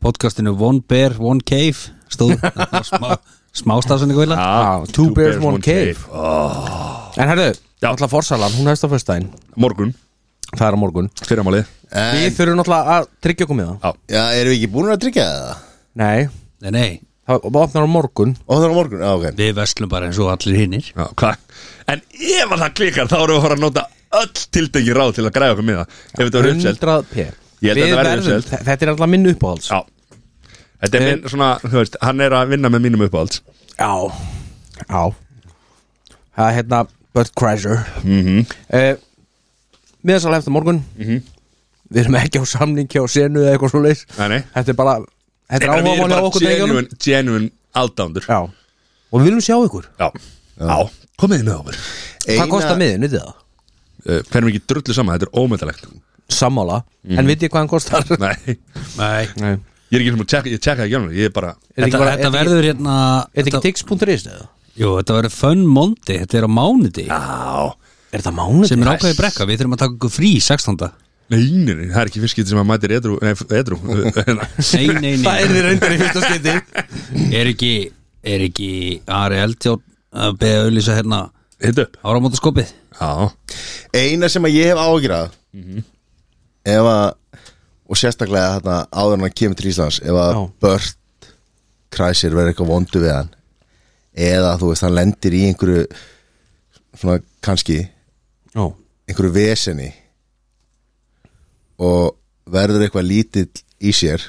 podcastinu One Bear, One Cave Stóð það var smá, smástafsinn eitthvað illa.
Ah, two bears, one cave. En herru,
Já.
náttúrulega Forsalan, hún hefst á föstudaginn
Morgun,
Það er á morgun
fyrirmálið
Við
En,
þurfum náttúrulega að tryggja okkur með það
já, erum við ekki búin að tryggja það?
Nei,
Nei, nei,
það opnar á morgun
Og það er á morgun, já, ok
við verslum bara eins og allir hinnir
Já, hvað? En ef að það klikkar þá erum við að fara að nota öll tildengi ráð til að græða okkur miða Ef þetta verður uppselt
100p
Ég held að
Við
þetta verði
verðum-
uppselt.
þe- Þetta er alltaf minn uppáhalds
Já Þetta er minn svona, þú veist, hann er að vinna með mínum uppáhalds
Já Já Það er hérna Burt Crasher
Mhm.
mm -hmm. uh, Miðansal eftir morgun -hmm. Við erum ekki á samningi á senu eða eitthvað svo leis
Nei, nei.
Þetta er bara Þetta er
Við erum
áhugamáli á
bara
okkur drengjunum.
genuine, genuine aldándur
Já Og við viljum sjá ykkur
Já, já. komið með okkur
Hvað kostar miðin, vitið það?
uh, Ferum ekki drullu saman, þetta er ómyndalegt
Sammála En vitið hvað hann kostar?
Mhm. Nei,
Nei
Nei
ég er ekki sem að tjekka, ég tjekka ekki alveg Ég er bara,
Er þetta ekki
Þetta,
bara-
þetta
er
verður hérna
Er þetta
þetta,
ekki tix.is eða?
Jú, þetta verður fun mondi, þetta er á mánuði
já
Er þetta mánuð?
sem er ákveði brekka, við þurfum að taka ykkur frí 16.
Nei, nei, nei, það er ekki fyrskið sem að mætir edru, nei, Hérna. edru.
Nei, nei, nei
Það er þið reyndar í fyrsta skipti
Er ekki, er ekki Ari Eldjón að beða auðlýsa hérna
Hitt upp
áramótaskopið
Já,
eina sem að ég hef ágjörað mm ef að og sérstaklega þarna áður en hann kemur til Íslands ef að
Já.
Bört Kræsir verður eitthvað vondu við hann eða þú veist hann lendir í einhverju svona kannski
Já
einhverju veseni og verður eitthvað lítill í sér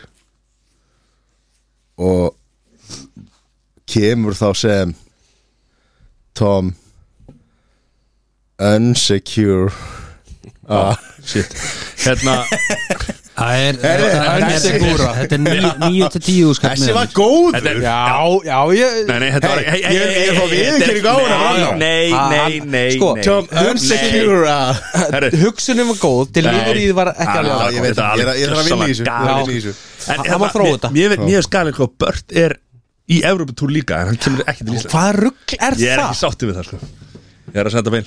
og kemur þá sem Tom Unsecure
shit Hérna,
Það er,
Herri,
það er-
þessi-
þetta er 9-10 skall
Þessi var góð
þetta er
Já, já, ég
Nei, nei, þetta var hey,
ég- ég er að fá viðurkenningu á hana, Ragnar.
Nei, nei,
Hann-
nei
sko,
nei.
Tom
Nei. Herru,
hugsunum var góð til
Nei. Ah,
lífur í því var ekki
hann-
Já,
alveg að
ég veit
þetta
það, ég er að- ég er að
alveg
vinna í þessu, ég er að
gjörsamlega
vinna í þessu.
galið. En
Hann-
hérna,
hann má þróa
mér-
þetta.
Mér mér er skalið hvað Bört er í Evropatúr líka En hann kemur ekki til Ísland
Hvaða rugg er
Ég er
það?
ekki sáttið við það, sko Ég er að senda bein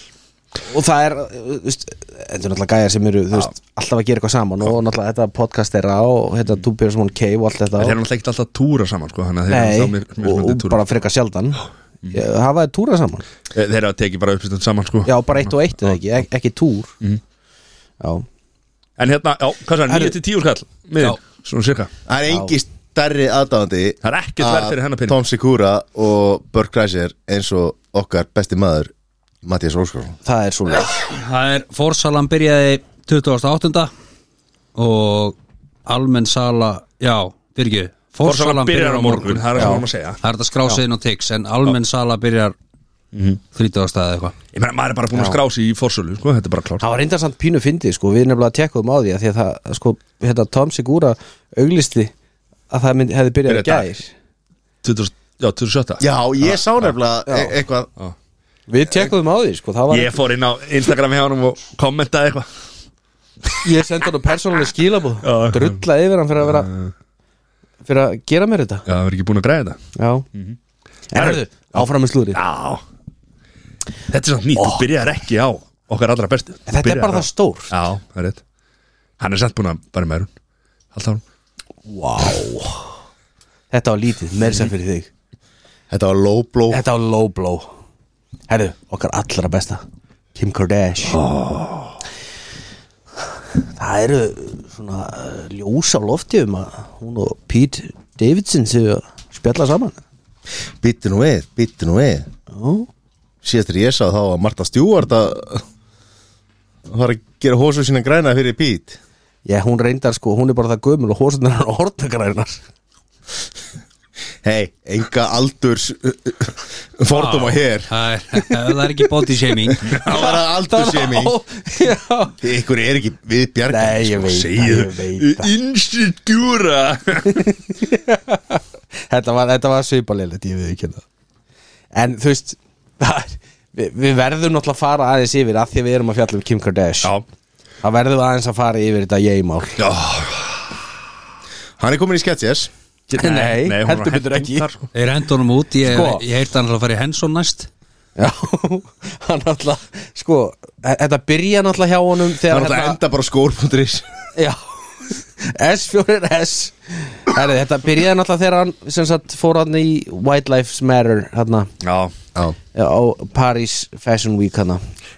Og það er, uh, þú veist, þetta er náttúrulega gæjar sem eru, þú veist, alltaf að gera eitthvað saman og náttúrulega þetta podcast þeirra og hérna Two Bears One Cave og allt þetta
Þeir
og,
eru náttúrulega ekki alltaf að túra saman, sko Þannig að þeir
Nei,
eru þá mér- mér
og,
smöndið
og
túra.
bara frekar sjaldan
Mm.
Ég- Hafa þið túra saman?
Eh, Þeir eru að teki bara uppsýttan saman, sko
Já, bara eitt og eitt eða ekki, ek- ekki túr
Mm.
Já,
En hérna, já, hvað svo, 9 til 10 skall Miðin, svona cirka
Það er engi stærri aðdáðandi
Það er ekkert verð fyrir hennar pening.
Ah, Tom Segura og Börk Kræsir eins og okkar besti maður Mattias Róskar
það er svona
Það er fórsalan byrjaði 28. og almenn sala, já, byrju
Forsalan byrjar á morgun, það er það sem
Já.
við erum að segja.
Það er þetta skrásiðin og tix en almenn sala byrjar 30. eða eitthvað
Ég meina, maður er bara búin að skrá sig í forsölu, sko Þetta er bara klárt
Það var reyndarsamt pínu fyndið sko, við nefnilega tekkuðum á því að því að það, sko, hérna Tom Segura auglisti að það mynd, hefði byrjað í
Byrjað í dag.
gær
20, já, 27
Já, ég sá nefnilega e- eitthvað
Við tekkuðum á því sko, það var
Ég fór inn á Instagram hjá hann og kommentaði eitthvað
Ég sendi hann persónuleg skilabúð
Já.
drulla yfir hann fyrir að vera fyrir að gera mér þetta
Já, það verður ekki búin að græða þetta
Já En
Mhm. Herru.
hörðu, áfram með slúri
Já Þetta er samt nýtt, þú byrjar ekki á okkar allra bestu Þú
Oh. Þetta er
byrjar
bara
á-
það stór
Já, það er rétt Hann er samt búin að bara með hún Alltaf hún
Vá Þetta var lítið, meirsa fyrir þig
Þetta var low blow
Þetta var low blow Herru, okkar allra besta Kim Kardashian Það eru svona eh, ljós á lofti um að hún og Pete Davidson séu að spjalla saman
Býtti nú við, býtti nú við
Já,
Síðastur ég sá þá að Marta Stewart að að fara að gera hósu sína græna fyrir Pete
Já, hún reyndar sko, hún er bara það gömul og hósunar hann og hortakarænar
Hei, enga aldurs uh, fordóma hér
Það er, það er ekki body shaming
Það var að aldurshaming
Já
Ykkur er ekki við sko, bjargum
Nei, ég veit, ég veit það.
Insecura
Þetta var, þetta var svipalilegt, ég við ekki hérna. En þú veist, það er- við, við verðum náttúrulega að fara aðeins yfir að því að við erum að fjalla um Kim Kardashian
Já,
Það verðum við aðeins að fara yfir þetta ég-mál
já
Hann er komin í Sketches
Nei,
hún var
heldur betur
hent
ekki.
þar, sko.
Þeir hendur honum út, ég,
Sko.
ég heyrti hann alltaf að fara í Henson næst
Já, hann náttúrulega Sko, e- þetta byrja náttúrulega hjá honum
Það
Þegar
er alltaf að
hérna-
enda bara skór.is
Já S4S Herri, Þetta byrjaði náttúrulega þegar hann sem sagt fór hann í White Lives Matter hérna,
Já
Já,
á Paris Fashion Week hérna.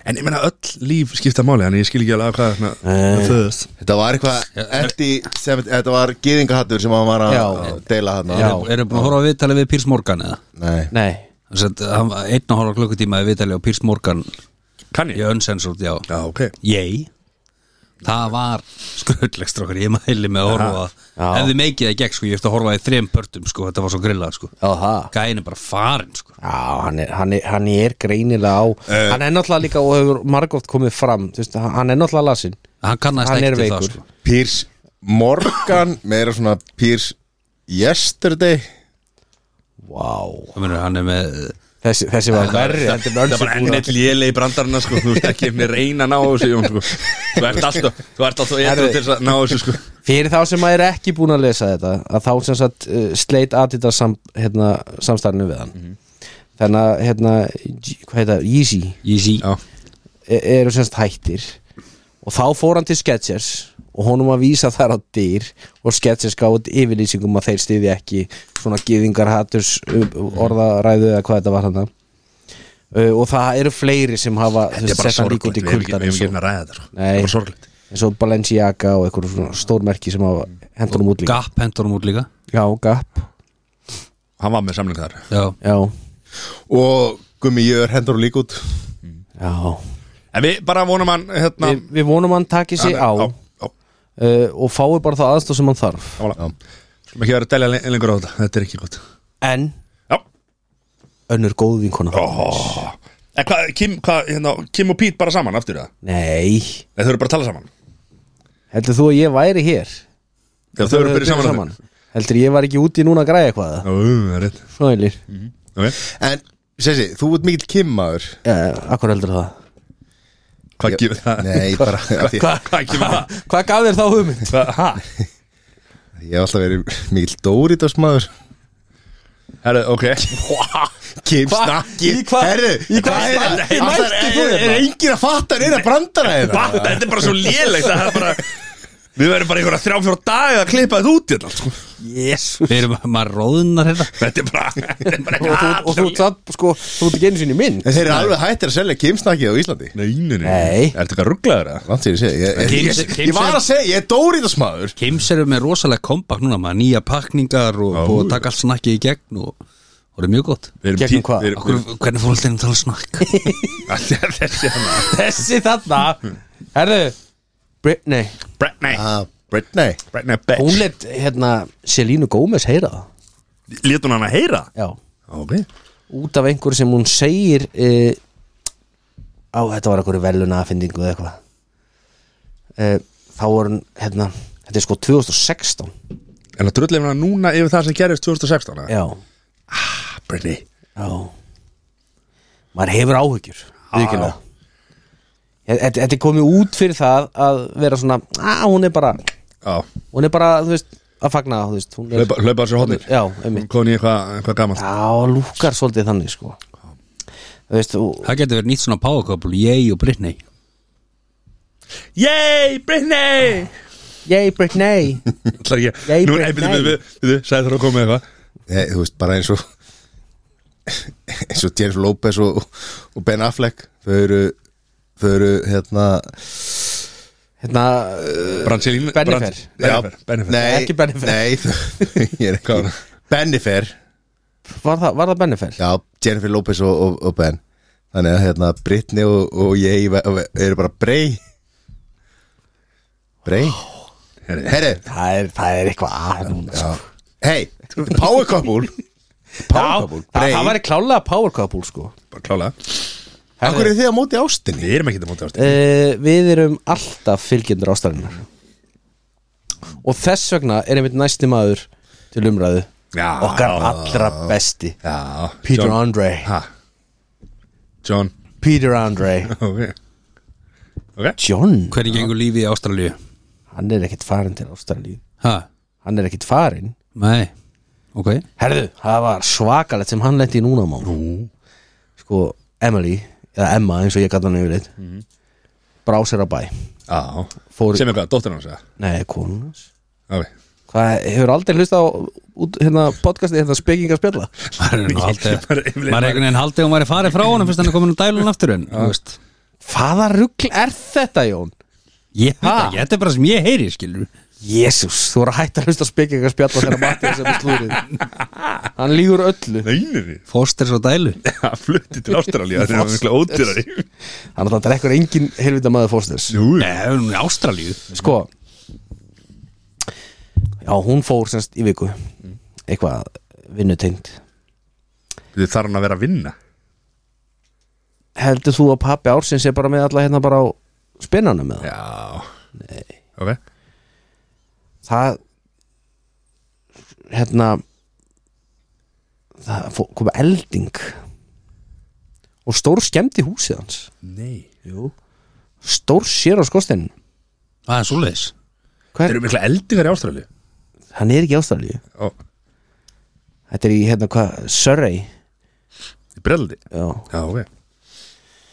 En ég meina öll líf skipta máli Þannig ég skil ekki alveg hvað svona-
Nei.
föðust.
Þetta var eitthvað eftir, sem, þetta var gýðingahattur sem hann var að
Já.
að deila hann
Já.
Erum búin að horfa á viðtalið við Piers Morgan eða?
Nei,
Nei,
Þess að hann var einn og horfa klukkutíma við viðtalið á Piers Morgan
Kann
í
ég?
Uncensored, já
Já, ok
Ég Það var skröldlegst okkar, ég mæli með að horfa
Já.
Ef þið meikið það gekk sko, ég eftir að horfa í þrem pörtum sko, þetta var svo grillað sko
já það
Gæin er bara farin sko
Já, hann er, hann er, hann er greinilega á
Eh.
Hann er náttúrulega líka og hefur margóft komið fram þú veist, Hann er náttúrulega lasin
Hann kannast
Hann er
ekkert við það
veikur.
sko
Piers Morgan meira svona Piers Yesterday
Vá
Það munur, hann er með eh,
Þessi, þessi var verri heldur en
Það er bara enn
önsubúra.
eitt léle í brandarana sko Þú veist ekki mér reyna að ná þessu Jón sko Þú ert alltaf Þú ert alltaf eitthvað til þess að ná þessu sko
Fyrir þá sem maður er ekki búin að lesa þetta að þá sem sagt uh, sleit Adidas sam, hérna, samstarfinu við hann
Mhm.
þannig að hérna, G- hvað heita, Yeezy
Easy
Já
e- eru sem sagt hættir og þá fór hann til Skechers og honum að vísa þar á dyr og Skechers gáði yfirlýsingum um að þeir stiði ekki svona gyðingar haturs orðaræðu eða hvað þetta var hann uh, og það eru fleiri sem hafa
Þetta er bara sorglegt Við hefum ekki- við hefum ekki
sorglegt
að ræða þetta sko Það
Nei.
er bara sorglegt
eins og Balenciaga og einhverjum svona stórmerki sem hafa hendunum út líka
Gap hendur hann út líka
Já, Gap
Hann var með samling þar
Já,
Já,
og Gummi Jör hendur hún líka út
já
En við bara vonum hann hérna
Vi, Við vonum hann taki sig á
Já,
uh,
já,
og fái bara það aðstof sem hann þarf
sammála. Skulum ekki vera að delja le- lengur á þetta Þetta er ekki gott
En
Já
önnur góð vinkona
Ó. En hvað, Kim, hvað, hérna, Kim og Pete bara saman aftur það?
Nei,
Nei, þau eru bara að tala saman
heldur þú að ég væri hér?
Já, þau eru byrjuð saman aftur.
Heldur ég var ekki úti núna að græja eitthvað
Ó, það er rétt
Svælir
Ok.
En, sessi, þú ert mikill kimmaður
ja, Akkur heldur það?
Hvað gefur það?
Nei, bara af því-
Hvað- Hvað gefur það?
Hvað gaf þér þá hugmynd?
Hvað- Ha?
Ég hef alltaf verið mikill Doritos maður
Herðu, ok
Kim
Hva?
snakki
Í hvað-
Herðu,
í hvað
það er-
standi
það er-
mæltir
er-
þú
Er
hérna?
engin að fatta neina brandara hérna
Bara, Þetta er bara svo lélegt að það er bara Við verðum bara einhverja þrjá fjóra daga að klippa þetta út hérna sko.
Jésu
við erum maður róðunar hérna
Þetta er bara Þetta er bara
Og þú, og þú, það, sko, þú ert ekki einu sinni minn
En þeir eru alveg hættir að selja Kim snakki á Íslandi
Neinunni
Nei.
Er þetta eitthvað rugglaður að?
Langt sér ég segi ég-
Kim-
ég-
Kim-
Ég var að segja, ég er Doritos maður
Kims eru með rosalega kompakt núna maður nýja pakningar og
Já.
búið að taka allt snakkið í gegn og það er mjög gott
Við erum
Gegnum
tí-
hvað?
við erum-
Akkur, hvernig fór alltaf að tala um snakk
Þetta er þessi hana
Þessi þarna Herðu Britney
Britney
Ah, Britney
Britney
Hún
bitch
let hérna Selínu Gómez heyra það
Létt hún hana heyra?
Já
Ah, Ok
út af einhverju sem hún segir uh, á, þetta var einhverju veluna aðfindingu eða eitthvað uh, þá var hún hérna, þetta er sko 2016
En það drullið hana núna yfir það sem gerist 2016 eða?
já,
Britney
já maður hefur áhyggjur viðurkenna. Ég- þetta þetta er komið út fyrir það að vera svona, að hún er bara
Já
hún er bara, þú veist, að fagna þú veist, hún er,
Hlaupa hlaupa á sér hodnir
Já, einmitt.
Koni eitthvað eitthvað gaman
já, lúkar svolítið þannig sko þú veist, og,
það getur verið nýtt svona páðaköpul ég og Britney
Yay, Britney
yay Britney
Það er
Yay,
ekki Nú, nei,
Britney.
Eh,
byrju, byrju, byrju Sæði þarf að koma með eitthvað
Nei, þú veist, bara eins og eins og James Lopez og, og Ben Affleck þau eru, þau eru hérna
hérna,
Bransilín
Bennifer.
Bennifer,
Já,
Bennifer.
Nei,
Ekki Bennifer.
Nei, þau- ég er
Hvað var
ekki Bennifer
uh, var það, var það Bennifer?
Já, Jennifer Lopez og, og, og Ben Þannig að hérna Brittany og, og ég ve- ve- eru bara brey Brey
Herri,
Herri,
Það er, það er eitthvað að núna sko.
hei, power couple Power couple,
það,
brey
það væri klálega power couple sko
bara klála
Akkur er þið á móti ástinni
Við erum ekki það móti ástu
uh, Við erum alltaf fylgjendur ástarinnar Og þess vegna er einmitt næsti maður til umræðu
Já.
Okkar allra besti
Já,
Peter
John-
Andre
Ha John
Peter Andre
Ok Ok
John,
Hvernig gengur lífið í Ástralíu?
hann er ekkit farinn til ástralíu
Ha?
Hann er ekkit farinn
Nei, ok
Herðu, það var svakalegt sem hann lenti í núna má Sko, Emily eða Emma eins og ég gæti hann yfir þitt mm. Brá sér á bæ
Já
Fór-
Sem eitthvað, dóttir hans eða?
Nei, konunars
Ok
Hvað, hefur aldrei hlustað á út, hérna, podcastið hérna spekinga spjalla?
Maður er nú haldið-
Maður er
maður er
yfirleitt-
einhvern veginn haldið og maður er farið frá honum fyrst hann er komin á dælun aftur en þú veist.
Hvaða rugl er þetta, Jón?
Ég veit
Ha?
ekki, þetta er bara sem ég heyri skilur
Jésús, þú er að hætta að hlusta á spekinga spjalla þegar Mattias er með slúrið Hann lígur öllu
Nei, nei, nei
Fosters og dælu
Það flutti til Ástralíu Það er mikla ódýrari
Hann er að drekkur engin helvita maður fóstins
Jú
Nei, hún er Ástralíu
Sko Já, hún fór semst í viku
Mm.
Eitthvað vinnutengt
Þið þarf hann að vera að vinna
Heldur þú að pappi ársins er bara með alla hérna bara á spennanum með það?
Já Nei Ok
það hérna það fó- kom elding og stór skemmti húsið hans
Nei
Jú. stór sér á skorstinn
Það er svoleiðis
Þeir
Hver,
eru mikla eldingar í Ástralíu
hann er ekki ástæðlíu
Ó
þetta er í hérna hvað, Surrey
Í breldi
Já.
Já, ok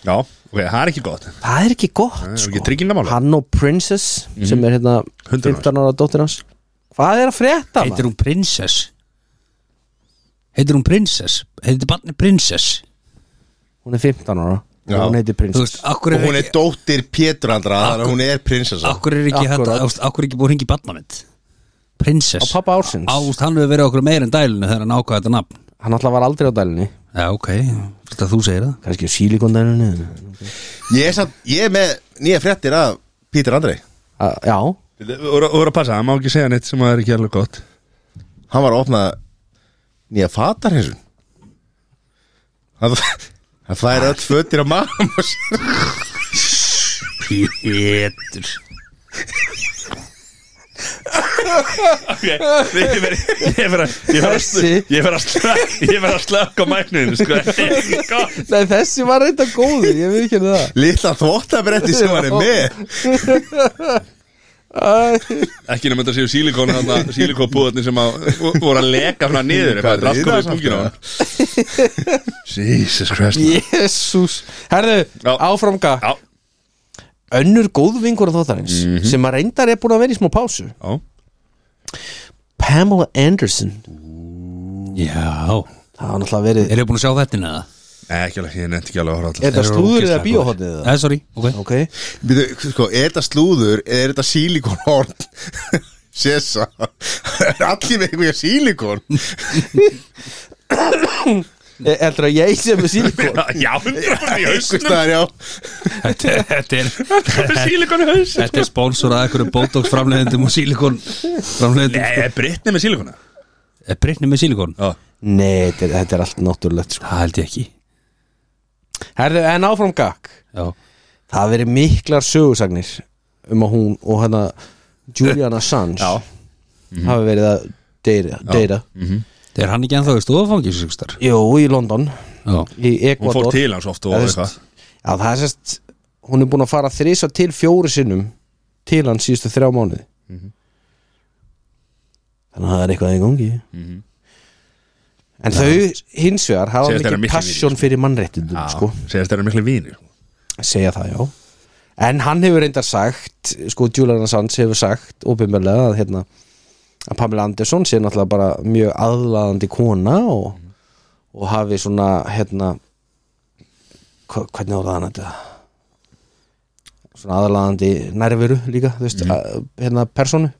Já, ok, það er ekki gott
það er ekki gott
Það er
sko.
ekki tryggingamála. Mhm.
hann og Princess sem er hérna
Hundurinn
15 ára dóttir hans hvað er að frétta
Heitir
maður?
hún Princess Heitir hún Princess Heitir barni Princess
hún er 15 ára
Já.
og hún heitir
Þú veist,
Princess
akkur
Og
er
hún er
ekki
dóttir Pétur Andra Þannig að hún er prinsessa
Akkur er ekki,
Akkurat.
hægt að- þú veist, af hverju er ekki búið að hringi barna mitt Princess
á pappa ársins
Ást, hann hefur verið okkur meir en dælunni þegar hann ákvað þetta nafn
hann alltaf var aldrei á dælinni
Já, ok, þetta þú segir það
kannski á sílikondælinni
Ég er, samt, ég er með nýja fréttir af Pétur Andri
já
Þú voru að passa, það má ekki segja neitt sem að það er ekki alveg gott
Hann var að opna nýja fatarhinsun Það fær öll fötir á mamma sér.
Pétur
Ég fer- ég fer að- ég fer að
Þessi.
sl- ég fer að slökk Ég fer að slökk á mæknuðinu sko. Þetta er ekki gott.
Nei, þessi var reynda góður, ég veit ekki það
Lilla þvóttabretti sem hann er með
Ekki nema þetta séu sílikon Sílikóbúðarnir sem að, voru að leka hana niður
Hvað er
Eitthvað raskur í
það?
punginu á hann Jesus Christ
Jésús Herðu,
Já.
áframga
Já, Mhm.
Önnur góð vingur á þóttarins sem að reyndar er búin að vera í smá pásu
já
Pamela Anderson
Já,
Það var náttúrulega verið
er ég búin að sjá þetta neða?
Nei, ekki alveg, ég nefndi ekki alveg að horfa
Er
alltaf
þetta slúður eða bíóhóttið það?
Nei, Eh, sorry, ok
Ok E,
Býtu, sko, Er þetta slúður eða er þetta sílikonhorn Sessa Er allir með einhverja sílikon
E- Heldur að ég sem er sílikon
Já, hundra bara í
Einhvers
hausnum
staðar, já
Þetta er- þetta er,
Sílikon í hausnum
þetta er sponsor að einhverju botox framleiðendum og sílikon framleiðendum
Nei, er Brittany með sílikona?
Er Brittany með sílikon?
Já
Nei, þetta er, þetta er allt náttúrulegt sko.
Það held ég ekki
Herðu, en áframgak
Já,
Það hafa verið miklar sögursagnir um að hún og hérna Julian Assange
Já.
hafi verið að deyra, deyra.
Mhm.
það er hann ekki ennþá í stofafangi Já,
Jú, í London í
Hún
Ecuador
fór til hans oft og
Já, þú
eitthvað
veist, Já, það er sérst Hún er búin að fara þrisa til fjóru sinnum Til hann síðustu þrjá mánuði
Mhm.
Þannig að það er eitthvað í gangi
Mhm.
En þau hins vegar hafa
Segjast þeirra
mikið
miklir
passion fyrir mannréttindum
Já,
sko,
Segist þeirra miklu vínir
segja það já En hann hefur reyndar sagt sko, Julian Assange hefur sagt opinberlega að, hérna, að Pamela Anderson sé náttúrulega bara mjög aðlaðandi kona og, og hafi svona hérna hva- hvernig orðaði hann þetta svona aðalaðandi nærveru líka, þú veist, að, hérna personu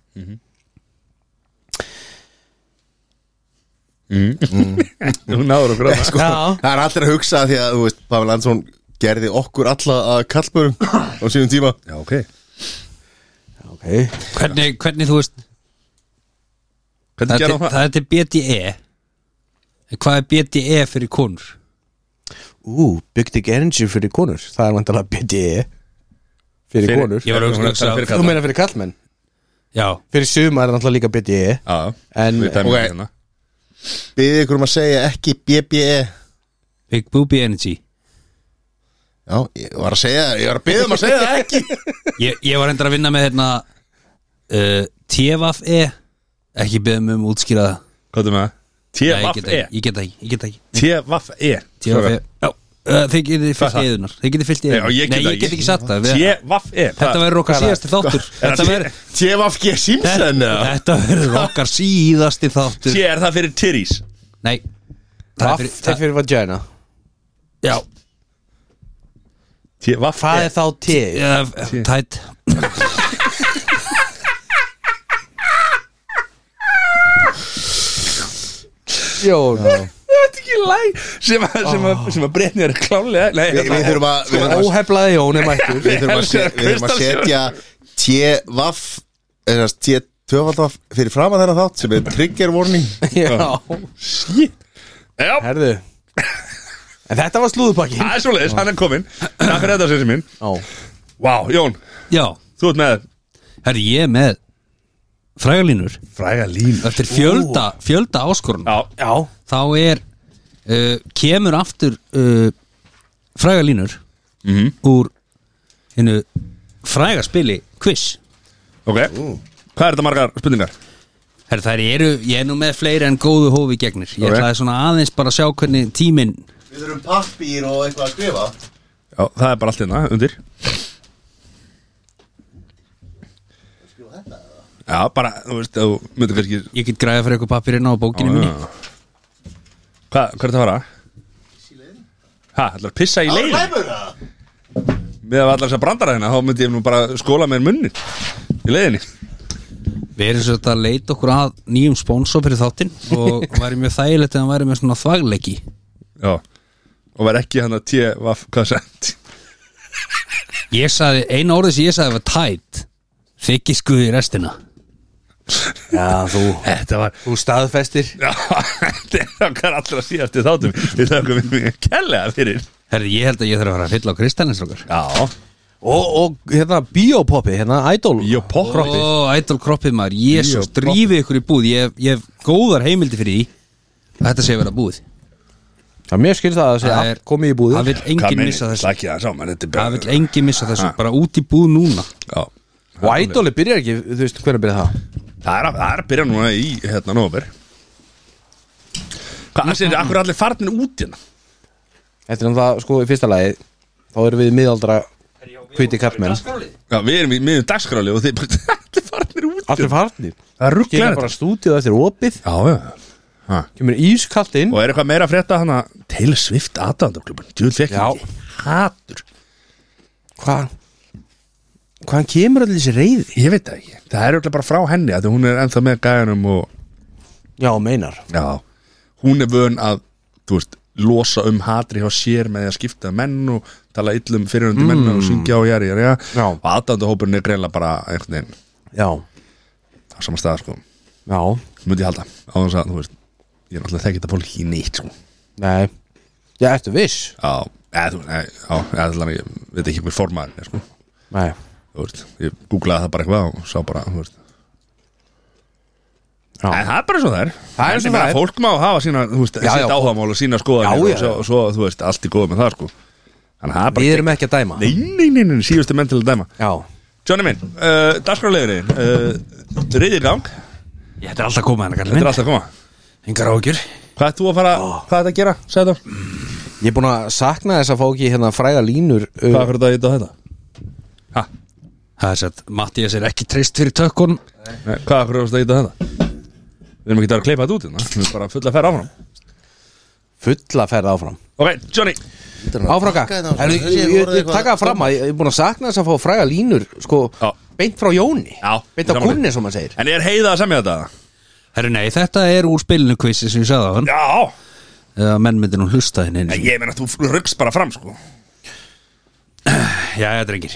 Nú náður okkur á það
sko,
Já.
það er allir að hugsa því að þú veist, Pavel Andersson gerði okkur alla að kallbörum á síðum tíma
Já, ok
ok,
hvernig, hvernig þú veist
Hvernig
þetta
gerðum
er-
það?
þetta er BDE En E. hvað er BDE fyrir konur?
ú, Big Dick Energy fyrir konur það er vandalega BDE E. fyrir,
Fyrir-
konur,
Ég var að
Hún
hugsa-
er- fyrir
þú
kalla.
meina fyrir kallmenn
Já,
fyrir suma er náttúrulega líka E. BDE
Já,
En-
við dæmum
ok.
þetta hérna.
Byðið ykkur um að segja ekki BBE
Big Booby Energy
Já, ég var að segja, ég var að byggja um að segja það ekki
Ég, ég var endur að vinna með hérna uh, TFE Ekki beðum um útskýra það
Hvað er með það?
Nei,
T-Vaff-E
ég geta ekki, ég geta ekki, ég geta ekki
E. T-Vaff-E
TFE Já, uh, þið getið fyllt
það?
í eðunar Þið getið fyllt í
Já,
eðunar
ég get
Nei,
það
ég get
ekki.
ekki satt það við-
T-Vaff-E
Þetta verður okkar
Hvað er það?
síðasti þáttur
Er
Þetta
það
verður
TFG Simpson eða?
Þetta verður okkar síðasti þáttur
T er það fyrir Tyrís
Nei Það er
Vaff
fyrir-
er fyrir vagina
Já,
Hvað
T-Vaff-E
er þá T?
eh, tætt
Jón
Þetta er ekki læg sem að- sem
Ah.
að- sem að breytni er klálega Nei, hérna.
Við við þurfum að við þurfum að-
Óheflaði Jón er mættur
við þurfum að se- við þurfum að setja TFG T-töfaldaf fyrir fram að þennan þátt sem er trigger warning
Já
Já,
Herðu En þetta var slúðupakki
það er svoleiðis, hann er kominn Takk fyrir þetta, sér minn
Já
Vá, Jón,
Já,
þú ert með
herri ég er með Frægalínur
Fræga lín
Eftir fjölda, fjölda áskorun
Já,
Já
Þá er uh, Kemur aftur uh, Frægalínur mm -hmm. Úr hinnu Frægaspili quiz
ok Hvað er þetta margar spurningar?
Herri, þær eru, ég er nú með fleiri en góðu hófi gegnir Ég
Ok.
ætlaði svona aðeins bara að sjá hvernig tíminn
Við þurfum pappír og eitthvað að skrifa
Já, það er bara allt hérna, undir Já, bara, þú veist, þú myndir kannski
Ég get græða fyrir eitthvað pappirinn á bókinu minni
Já. Hvað, hvað er þetta að fara? Hæ, ætlar að pissa í leiðin?
það
Með að allar þess að brandara hérna, þá myndi ég nú bara skóla mér munni í leiðinni
Við erum svolítið að leita okkur að nýjum sponsor fyrir þáttinn og væri mjög þægilegt en væri með svona þvagleiki
Já, og verð ekki hérna hann að tíu, hvað, hvað sent
Ég sagði, eina orðið sem ég sagði var tætt Þykki skuði restina
Já, þú
Þetta var
Þú staðfestir
Já, þetta er okkar allra síðasti þáttum Við þökkum við mjög kellega fyrir
Herri, ég held að ég þarf að fara að fylla á kristallins okkar
Já,
Og, og hérna, biopoppi, hérna, idol
ég og pokkrotti
Ó, ædol kroppið maður, jésus,
Jú,
drífið ykkur í búð Ég hef, ég hef góðar heimildi fyrir því að þetta sé að vera búð
Já, mér skil það að segja
Það er-
allt komið í búðir
Það vil enginn missa þessu
Slakið það saman, þetta er
Það
bara
vil enginn missa þessu, bara út í búð núna
Já,
Og idoli byrjar ekki, þú veist, hvernig byrjar það?
það er, að, það er að byrja núna í hérna nóver Hvað, það séð, akkur er allir farnir út hérna
Þetta er náttúrulega, sko, í fyrsta lagi Þá erum við miðaldra Hvíti kallmenn
Já, við erum í miðum dagskráli og þið bara allir farnir út hérna.
Allir farnir
Það er
Kikar
rugglega
bara stúdíu eftir opið
Já, já ha.
Kemur ískallt inn
Og er eitthvað meira að frétta hana Taylor Swift aðdæðandarklubun Djúl fekk
Já.
ekki Hatur
Hvað? Hvaðan kemur allir þessi reyði?
Ég veit það ekki Það er öll bara frá henni Þegar hún er ennþá með gæjanum og
Já, meinar
Já Hún er vön að Þú veist Losa um hatri hjá sér Með því að skipta um menn Og tala illum fyrirhundi mm. menn Og syngja og jæri jæri
Já.
Og aðdæðandahópurinn er greinlega bara Einhvern veginn
Já,
Á sama stað sko
já,
Möndi ég halda Á þess að þú veist Ég er náttúrulega þekkið þetta fólk í nýtt sko
nei Já, ertu viss?
Já Eða þú Nei Já Eða allan ég Veit ekki hver formaðurinn er sko
Nei
Þú veist Ég googlaði það bara eitthvað Og sá bara Þú veist
Já,
En það er bara svo það er
Það er eins og
bara
það er.
Fólk má hafa sína, þú veist,
Já,
sitt
já.
áhagamál og sína
Já,
skoðanir
já,
og svo, svo, þú veist, allt í góð með það, sko Þannig að það er bara
Við erum ekki að dæma
Nei, nei, nei, nei, síðustu menn til að dæma
Já,
Johnny minn, uh, dagskrálegurinn uh, Riðir gang,
Ég ætti alltaf að koma hennar
þetta
kallið
er alltaf hérna, að koma
minn Engar ágjur
Hvað ert þú að fara, hvað er þetta að gera, segðu þá
ég er búin að sakna þess að fá ekki hérna fræga línur
Hvað
uh,
er fyrir þetta að geta þetta? Ha,
Það er satt, Mattias er ekki treyst fyrir tökkun
nei, hvað er fyrir þetta að geta þetta? Við erum ekki að vera að kleipa þetta út hérna Við erum bara fulla að ferra áfram
fulla ferð áfram
Ok, Johnny
Áfraka, Heru, ég, ég, ég, ég taka það fram að ég ég er búin að sakna þess að fá fræga línur sko,
Já.
beint frá Jóni
Já,
beint á
gaman.
kunni sem maður segir
En er heiða að semja þetta?
Herru nei, þetta er úr spilinu kvissi sem ég sagði á hann
Já
Eða menn myndir nú hlusta henni
Nei,
einu sinni.
Ég meina, þú ruggst bara fram, sko
Jæja, drengir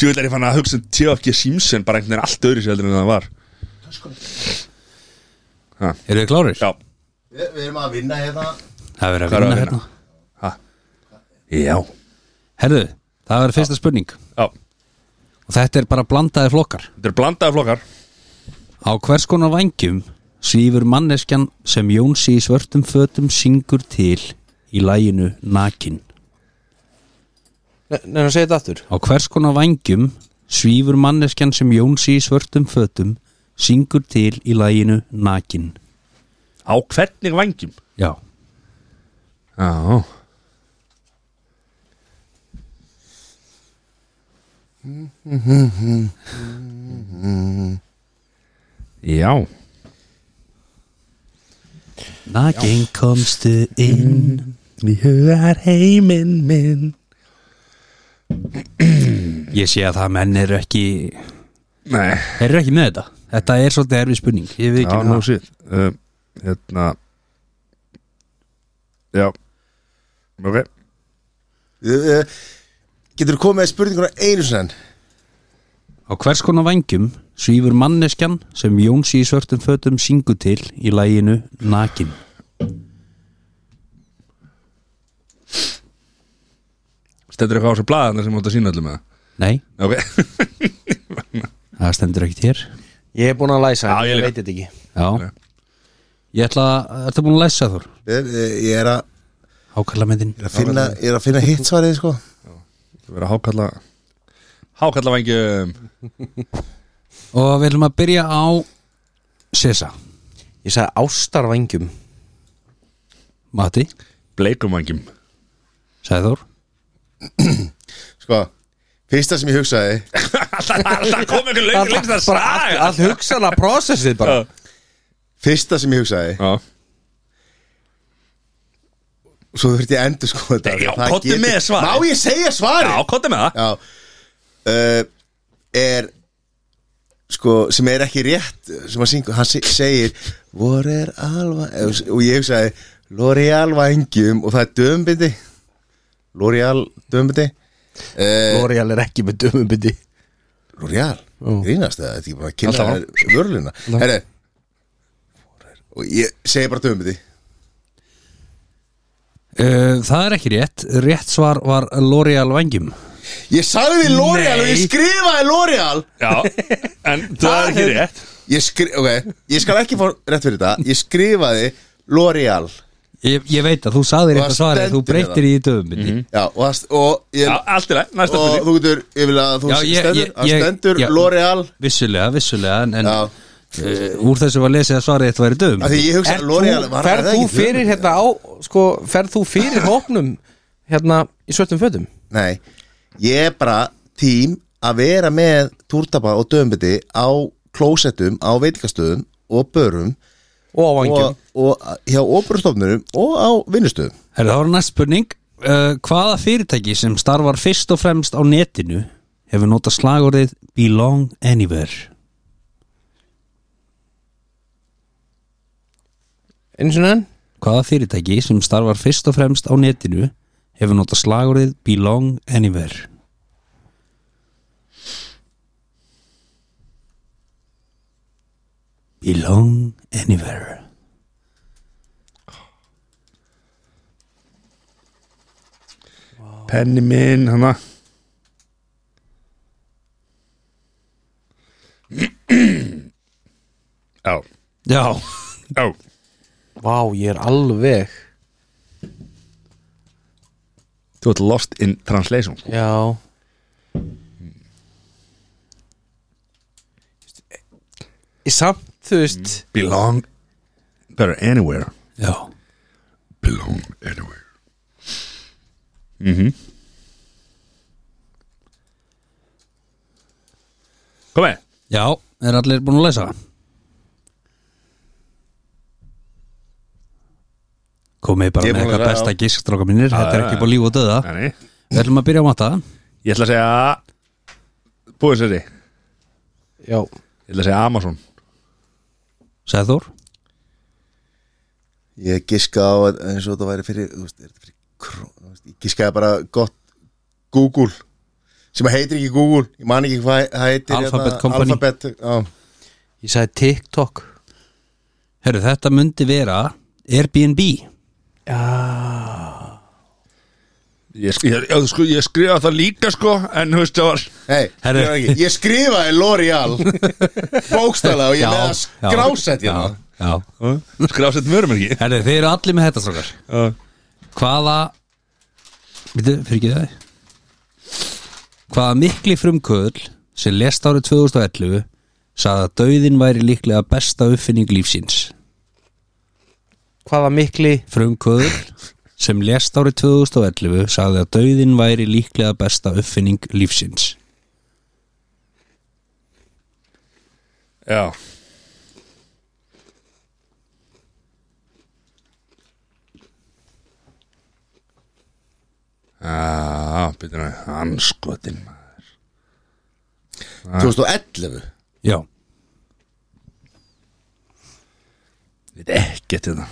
Djúvel er ég fann að hugsa um TFG Simpson bara einhvern veginn allt öðru sér heldur en það var
Eru þið klárir?
Já
Við erum að vinna hérna
Það verður að
Hvað er að
vinna
vinna?
hérna
ha. Já
Herðu, það verður fyrsta spurning
Já,
Og þetta er bara blandaði flokkar
þetta eru blandaði flokkar
Á hvers konar vangjum svífur manneskjan sem Jónsi í svörtum fötum syngur til í læginu Nakin
Nei, hann segir þetta aftur
Á hvers konar vangjum svífur manneskjan sem Jónsi í svörtum fötum syngur til í læginu Nakin
Á hvernig vangjum?
Já,
Já Já
Nakin komstu inn
Í hugar heiminn minn
Ég sé að það menn eru ekki
Nei
eru ekki með þetta Þetta er svolítið erfið spurning Ég veit
Já,
ekki
nú síð um, Hérna Já Ok
eh, Getur þú komið með spurninguna einu sinni
Á hvers konar vangjum svífur manneskjan sem Jónsi í svörtum fötum syngur til í læginu Nakin
Stendur eitthvað á þessu blaðana sem átt að sína öllum með
Nei,
Ok
það stendur ekkit hér
Ég er búin að læsa,
Já, ég
ég,
líka.
veit þetta ekki
Já Ég ætla að, ertu búin að lesa þúr?
eh, Ég er að,
Hákallamyndin
er að finna, ég er að finna hitt svarið sko
Það verður að hákalla Hákalla vangjum
Og við ætlum að byrja á Sessa,
Ég sagði ástarvængjum
Matti,
Bleikum vangjum
sagði Þór
Sko, fyrsta sem ég hugsaði
Það kom einhver lengur lengst að
bara allt,
saga
allt hugsana prósessið bara
Já.
Fyrsta sem ég hugsaði
Já,
Svo þurfti ég endur sko þetta
Já,
Það
komdu
getur-
með svarið.
Má ég segja svarið?
Já, kottu með það
Já uh, Er Sko, sem er ekki rétt Sem að syngu, hann se- segir Vor er alva Eh, Og ég hugsaði L'Oreal vangjum Og það er dömbindi L'Oreal dömbindi uh,
L'Oreal er ekki með dömubindi
L'Oreal Grínast það, þetta er ekki bara að kynna
Alltaf.
þér vörluna Herre Og ég segi bara dömbindi
uh, Það er ekki rétt, rétt svar var L'Oreal vangjum
Ég sagði L'Oreal og ég
Nei.
skrifaði L'Oreal
Já, en það er ekki rétt
Ég, skri, okay, ég skal ekki fá rétt fyrir þetta Ég skrifaði L'Oreal
ég, ég veit að þú sagði
Og það
rétt svarið, þú
stendur
breytir í döfumbindi
Já, og, það st- og, ég,
Já, allt í læg, næsta
og
spurning
þú getur Ég vil að þú
Já, ég-
stendur,
ég-
að
ég-
stendur
já.
L'Oreal
Vissulega, vissulega En, en
Já,
uh, úr þessu var lesið að svarið þetta væri
af því
döfumbindi
ég hugsaði L'Oreal var það
Ferð
ekki
þú fyrir
dömur?
hérna á sko, Ferð þú fyrir hópnum hérna í svörtum fötum
Nei, ég er bara tím að vera með túrtapa og dömbiti á klósettum, á veitingastöðum og börum
og á
og,
vangjum
og hjá óperustofnurum og á vinnustöðum
Herra, það var næst spurning uh, Hvaða fyrirtæki sem starfar fyrst og fremst á netinu hefur notað slagorðið Belong Anywhere
eins og enn
Hvaða fyrirtæki sem starfar fyrst og fremst á netinu hefur nota slagurðið Belong Anywhere? Belong Anywhere
Penni minn, hana Já,
Já,
já
Vá, ég er alveg
Þú ert lost in translation sko.
Já Í samt, þú veist
Belong Better anywhere
já
Belong anywhere Mhm Kom með
Já, er allir búin að lesa? komið bara
Ég er
með
búin að
eitthvað
ræða
besta
á.
gísk stráka mínir, þetta er
já,
ekki
já.
bara líf og döða
Nei,
við ætlum að byrja á matta
ég ætla að segja Búið sér því Ég
Mm. Já,
ætla að segja Amazon
sagði Þór,
Ég giska á að- eins og þetta væri fyrir, þú veist, er þetta fyrir kró- þú veist, Ég giskaði bara gott Google sem heitir ekki Google, ég man ekki hvað það heitir
Alphabet
hérna,
Company.
Alphabet, já,
ég sagði TikTok
herru þetta myndi vera Airbnb
Ég, sk- ég, ég, sko, ég skrifa það líka sko En þú veist það var
Hey,
Herru.
ég, ég skrifaði L'Oreal bókstala og ég með að skrásett
já,
hérna
já.
Skrásett mörmerki
herru þeir eru allir með þetta strákar
Já.
hvaða veitu, fyrir ekki það hvaða mikli frumköðl sem lest árið 2011 sagði að dauðin væri líklega besta uppfinning lífsins
Hvaða mikli
frumkvöður sem lest árið 2011 sagði að dauðin væri líklega besta uppfinning lífsins
Já Já, byrjum við Anskotin
2011
Já,
Við ekkert um þetta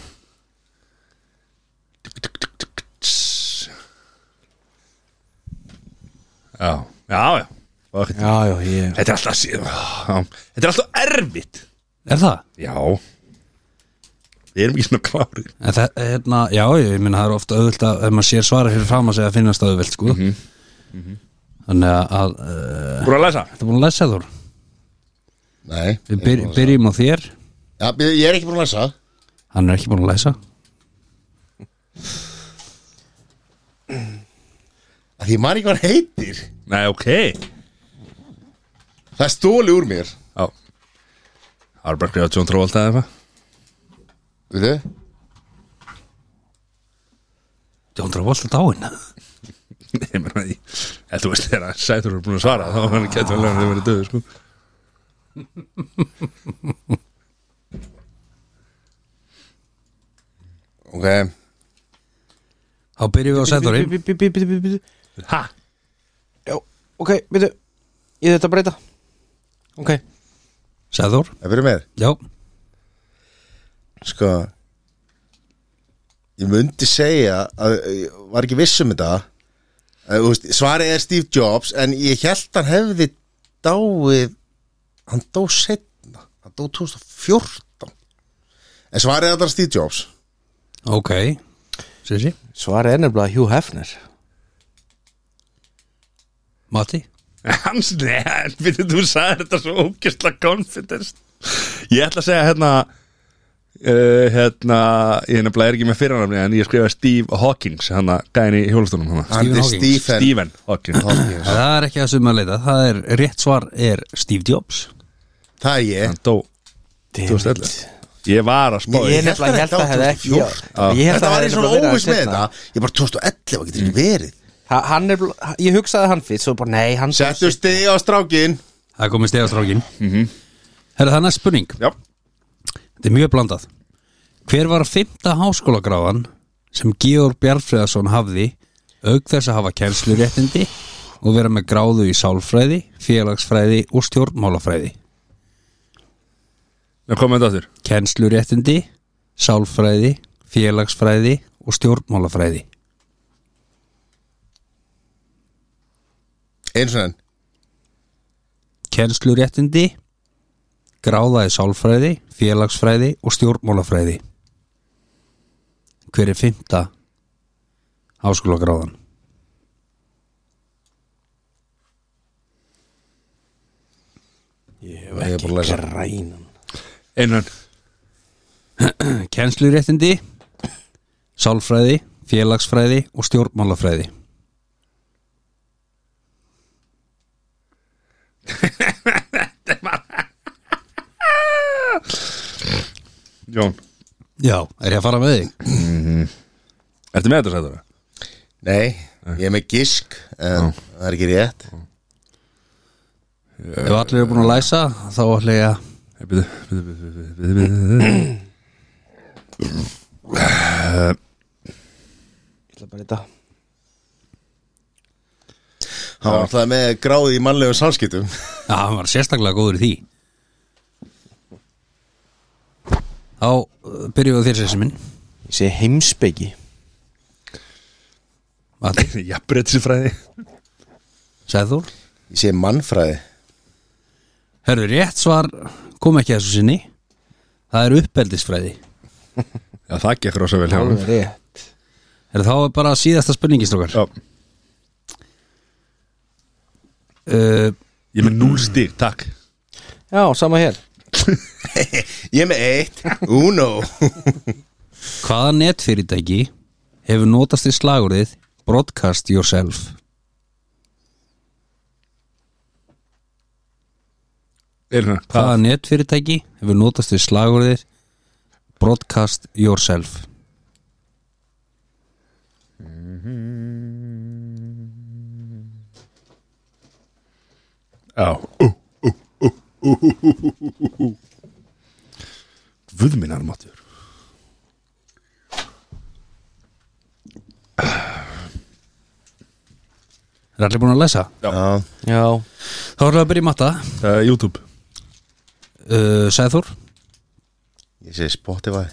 Já, já, já Og
Já, já, ég
Þetta er alltaf sí- Já, Þetta er alltaf erfitt
er það?
Já Við erum ekki svona klári
En það, hérna, já, ég minna það er ofta auðvöld að ef maður sér svara fyrir fram að segja að finnast það auðvöld, sko Mhm. Þannig að, að uh,
Búin að læsa
Þetta er búin að lesa Þór
Nei,
Við byr, byrjum á þér,
ja, ég er ekki búin að lesa
hann er ekki búin að lesa
að ég man ekki hvað hann heitir
Nei, ok Já
það er stóli úr mér
Það var bara að skrifa John Travolta eða eitthvað
Við þau?
Jón Travolta dáin
Ég meina því Ef þú veist þegar að Sæður er búin að svara þá var hann getur vel að vera döður sko
Ok
Þá byrjum við á Sæðurinn
Bí- bí- bí- bí- bí- bí- bí-
Ha?
Já, ok, veitu Ég þetta breyta Ok,
Sæður,
Það fyrir mér
já,
Sko Ég mundi segja að ég var ekki viss um þetta að, þú veist, Svarið er Steve Jobs en ég held hann hefði dáið hann dó setna hann dó 2014 en svarið er alltaf Steve Jobs
ok Sissi,
svarið er nefnilega Hugh Hefner
Matti
Hans, neðan, við þú sagði þetta svo ókjastlega confidence Ég ætla að segja hérna uh, hérna, ég nefnilega er ekki með fyrirnafni en ég skrifa Steve Hawkins hann að gæðin í hjólastunum hann
Hann
Stephen
er
Hawking.
Stephen
Stephen Hawkins
Hawking.
Það er ekki að suma að leita, það er rétt svar er Steve Jobs
Það er ég
hann dó
Damn
2011
it.
Ég var að spá
Ég
í-
er
Ég
nefnilega
held
ég held
að
að hefði ekki já,
2014.
Ég held
Þetta
að
var
hefði
eins og
nefnilega verið
óvis með
seinna.
þetta Ég bara 2011 var getur ekki verið
Ha- Hann er, bl- ég hugsaði hann fyrst Svo bara, nei, hann
Settu stið á strákin
Það er komið stegastrákin mm -hmm. Herra það er næst spurning,
Já,
þetta er mjög blandað Hver var fymta háskólagráðan sem Georg Bjarnfreðarsson hafði auk þess að hafa kennsluréttindi og vera með gráðu í sálfræði, félagsfræði og stjórnmálafræði
ég kom með þetta aftur
Kennsluréttindi, sálfræði, félagsfræði og stjórnmálafræði
Eins og enn
Kennsluréttindi, gráða í sálfræði, félagsfræði og stjórnmálafræði Hver er fymta háskólagráðan?
Ég hef ekki grænan
Einan,
kennsluréttindi sálfræði, félagsfræði og stjórnmálafræði
Jón
Já, er ég að fara með þig?
Ertu með þetta sættur?
Nei, Mm. ég er með gisk en það er ekki rétt
Ef allir eru búin að læsa þá ætla ég að
Býðu, býðu, býðu, býðu, býðu
ætla bara þetta
Hann var alltaf með gráði í mannlegum samskiptum
Já, hann var sérstaklega góður í því Þá uh, byrjum við á þér sessi minn
Ég segi heimspeki
Allir,
Jafnbreytisfræði
sagði þú
Ég sé mannfræði
Herðu, rétt svar kom ekki að þessu sinni Það er uppeldisfræði
Já, það gekk rosa vel hjá honum.
Alveg rétt
Herðu, þá er bara síðasta spurningin strókar
Já,
uh,
Ég er með 0 stík, takk
Já, sama hér
Ég er með eitt Uno
Hvaða netfyrirtæki hefur notast í slagurðið Broadcast yourself
Er það?
Hvaða netfyrirtæki hefur notast í slagurðið Broadcast yourself
Já Ú, ú, ú, ú, ú, ú, ú, ú, ú, ú. Guð minn armatur
Er allir búin að lesa?
Já,
Já
Þá erum við að byrja í matta
uh, YouTube
uh, Sæður,
ég sé Spotify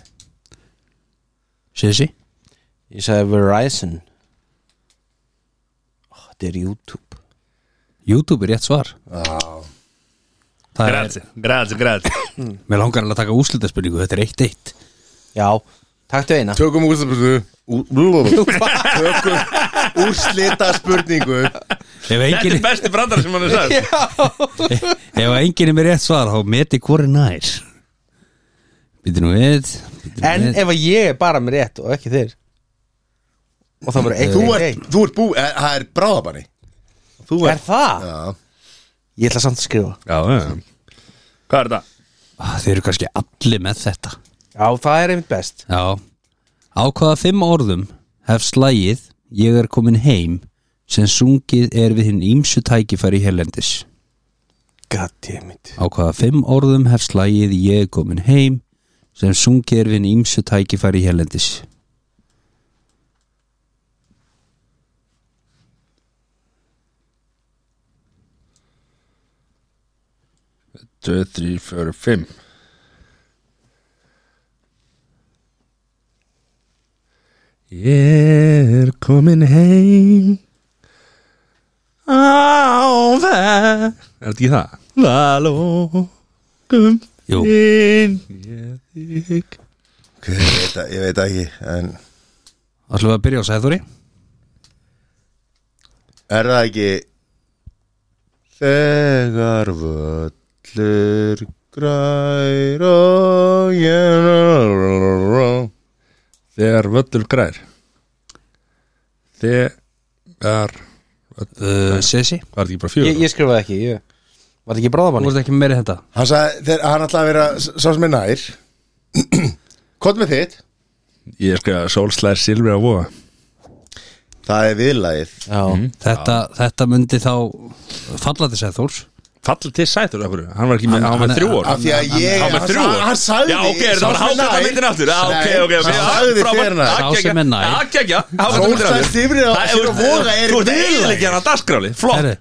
Sissi
Ég segi Verizon Ó, Þetta er YouTube
YouTube er rétt svar Það er,
Grazie, grazie, grazie
mér langar alveg að taka úslitaspurningu Þetta er eitt eitt
Já, taktu eina
Tökum úrslitaspurningu Tökum úrslitaspurningu
Ef
Þetta
enginn
er besti brandar sem hann er sagt
ef enginn er með rétt svar þá meti hvori nær Býtu nú við bíddu nú
En
við.
ef að ég er bara með rétt og ekki þeir Og það voru eitt,
Þú
eitt,
ert, þú ert bú, eh, það er bráðabanni Þú
eitt Er
ert
það?
Já,
Ég ætla samt að skrifa
Já, já Hvað er þetta?
Ah, Þeir eru kannski allir með þetta
Já, það er einmitt best
Já Á hvaða fimm orðum hef slægið Ég er komin heim sem sungið er við hinn ímsu tækifæri hérlendis
Goddammit
Á hvaða fimm orðum hef slægið Ég er komin heim sem sungið er við hinn ímsu tækifæri hérlendis
Tvö, þrjú, fjöru, fimm Ég er komin heim Á veg Er þetta ekki það? Valókum
Jú.
Þinn Ég þig
ok, ég veit, það- ég veit það ekki En
Ætlum við að byrja á Sæðúri?
er það ekki Þegar völlur grær og ég
Þegar völlur grær Þegar völlur
Uh, Sessi?
Var þetta ekki bara fjögur?
Ég, ég skrifaði ekki, ég Var þetta ekki
Þú
bráðamanni?
ert ekki meira þetta
Hann sagði, þeir, hann ætlaði að vera s- sá sem er nær Kott með þitt
Ég sko, skrifaði Soulslær Silvi á voga
Það er viðlagið
Já
Þetta, þetta myndi þá falla til Sæðúrs
Fallið til sætur af hverju Hann var ekki með, hann, var
hann-
með þrjú orð
Af því að
Hann
ég
var með
hann
þrjú
sa-
orð
Hann sagði
Já ok, er það
sá
var
sem er
hákvæmta
nær.
myndin aftur Já ok,
Nei,
ok ok.
Hann sagði
Frábært.
fyrir
Ah,
nær
Sá sem er nær.
geggja. Ah, geggja. Hákvæmta
Sól
myndin aftur.
sær sifrið á-
Það er-
sifrið á Voga er
Þú ert
viðlagið.
eiginlega hann að dagskráli Flott,
Herru,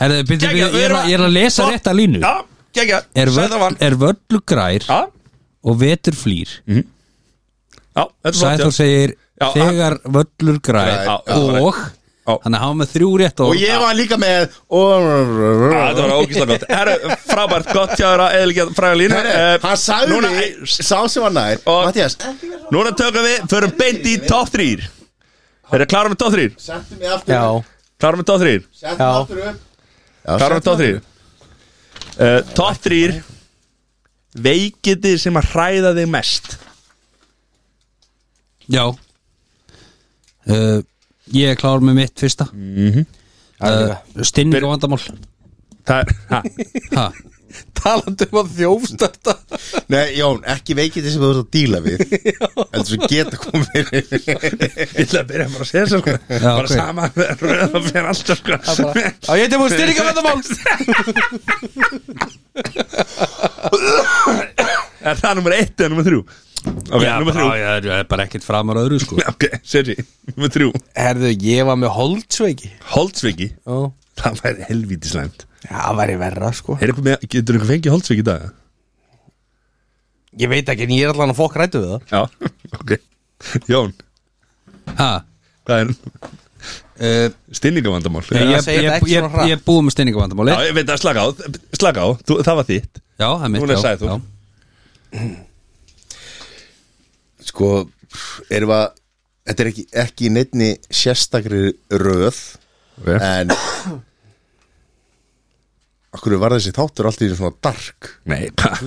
herru, bíddu,
Geggja, við
bíddu, ég er
erum
að- ég er að lesa
Flott.
rétta línu.
Já, geggja,
er,
sæður
völl,
vann
er völlu grær
Já,
og vetur flýr
já, þetta er flott,
Sæður
já.
segir
Já,
þegar völlur grær
Já, já,
og
Já.
hann er hafa með þrjú rétt
Og
og
ég var líka með
Já, Þetta var
og
ógíslega gott Herru, frábært gott hjá þér að eiginlega fræða línu Eh,
Hann sagði
núna-
Sá sem var nær
Og-
Mattias
Núna tökum við, förum beint í top 3 Er það klára með top 3?
Settu mig aftur
Já,
upp,
Klára með top 3?
Settu mig
Já.
aftur upp Já,
Hvað er með
settu
top
mig
3? Uh, top 3 Veikindi sem að hræða þig mest
já uh, ég er klár með mitt fyrsta uh, stinning og vandamál
Það er, ha,
ha,
Talandi um að þjófstarta
aftur upp. Nei, Jón, ekki veikindi sem þú ert að díla við Heldur sem geta komið
ég ætla að byrja bara að segja þessu sko
Já,
Bara
ok.
sama, rauða fyrir alltaf sko
Já, ég hefði múið styringa vandamál
Er það nummer 1 eða nummer 3? Ok,
já,
nummer
bara-
þrjú
já, það er bara ekkert framar öðru sko
Ok, seri, nummer þrjú
Herðu, ég var með holdsveiki
Holtzviki,
Já,
það væri helvítið slæmt
það væri verra sko
Er eitthvað með, getur eitthvað fengið Holtzviki í dag?
Ég veit ekki, en ég er allan að fokk rættu við það
Já, ok Jón,
ha,
hvað er
Eh,
uh,
stinningavandamál?
ég,
Já,
að
ég,
segja þetta
ég,
ekki
ég,
svona hratt.
ég búið með steinningavandamáli já,
ég veit að slaka á, slaka á, þú, það var þitt
það er mitt
Núna
já,
sagði þú.
já.
Sko, erum við að Þetta er ekki, ekki í neittni sérstakri röð
Ok.
En Akkur var þessi þáttur allt í einu svona dark
Nei, hvað?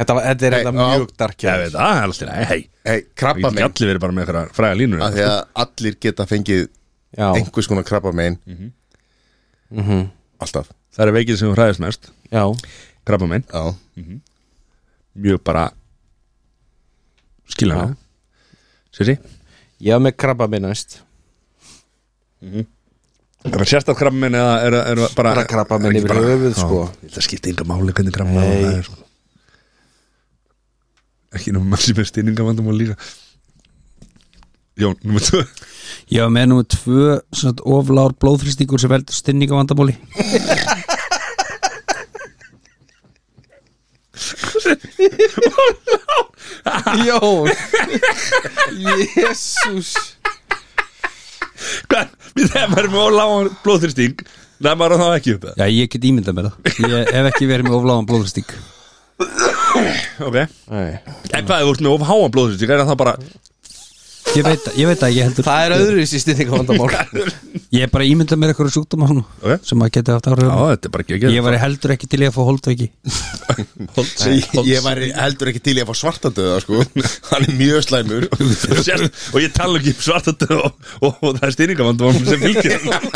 Þetta, var- þetta er
Nei,
hey,
já.
mjög darkja
Ég veit að, það er alltaf, nei, hei
Hei,
Það
krabba
getur ekki allir verið bara með eitthvað fræga línur
Af því að allir geta fengið
Já, Mhm.
einhvers konar krabba Alltaf
Það er veikið sem hún hræðist mest,
já
krabba minn
Já,
Mjög bara skilja hana Sér því?
Ég var með krabba minn næst
Er það sérstaf krabba minn eða er, er, er bara
Bara krabba minn
er ekki
yfir
bara-
höfuð
Já,
sko
Það skipti enga máli hvernig krabba minn það er sko Ekki nú maður sem er stýningavandum og líka Jón, nummer tvö
ég var með númer tvö sem sagt, oflár blóðfrýstingur sem veldur steinningavandamáli
Jón Jésús
Hvað? Við þegar maður er með óláðan blóðþrýsting Nei, maður á þá ekki upp það
já, ég get ímyndað með það ég hef ekki verið með ofláðan blóðfrýsting
Ok
Það
En hvað, ef þú ert með ofháan blóðþrýsting Er það bara
ég veit, það- ég veit það ekki heldur
er öðruvísi stinningamandamál
ég er bara ímyndað með eitthvað sjúkdóma svona,
Ok.
sem að geta haft áhrif
Já,
á mig.
þetta er bara ekki ekki
ég var heldur ekki til í að fá holdveiki
Ég, ég var heldur ekki til í að fá svartadöða sko. Hann er mjög slæmur
Sérst, og ég tala ekki um svartadöð og, og, og það er styrningavandum sem fylgir honum.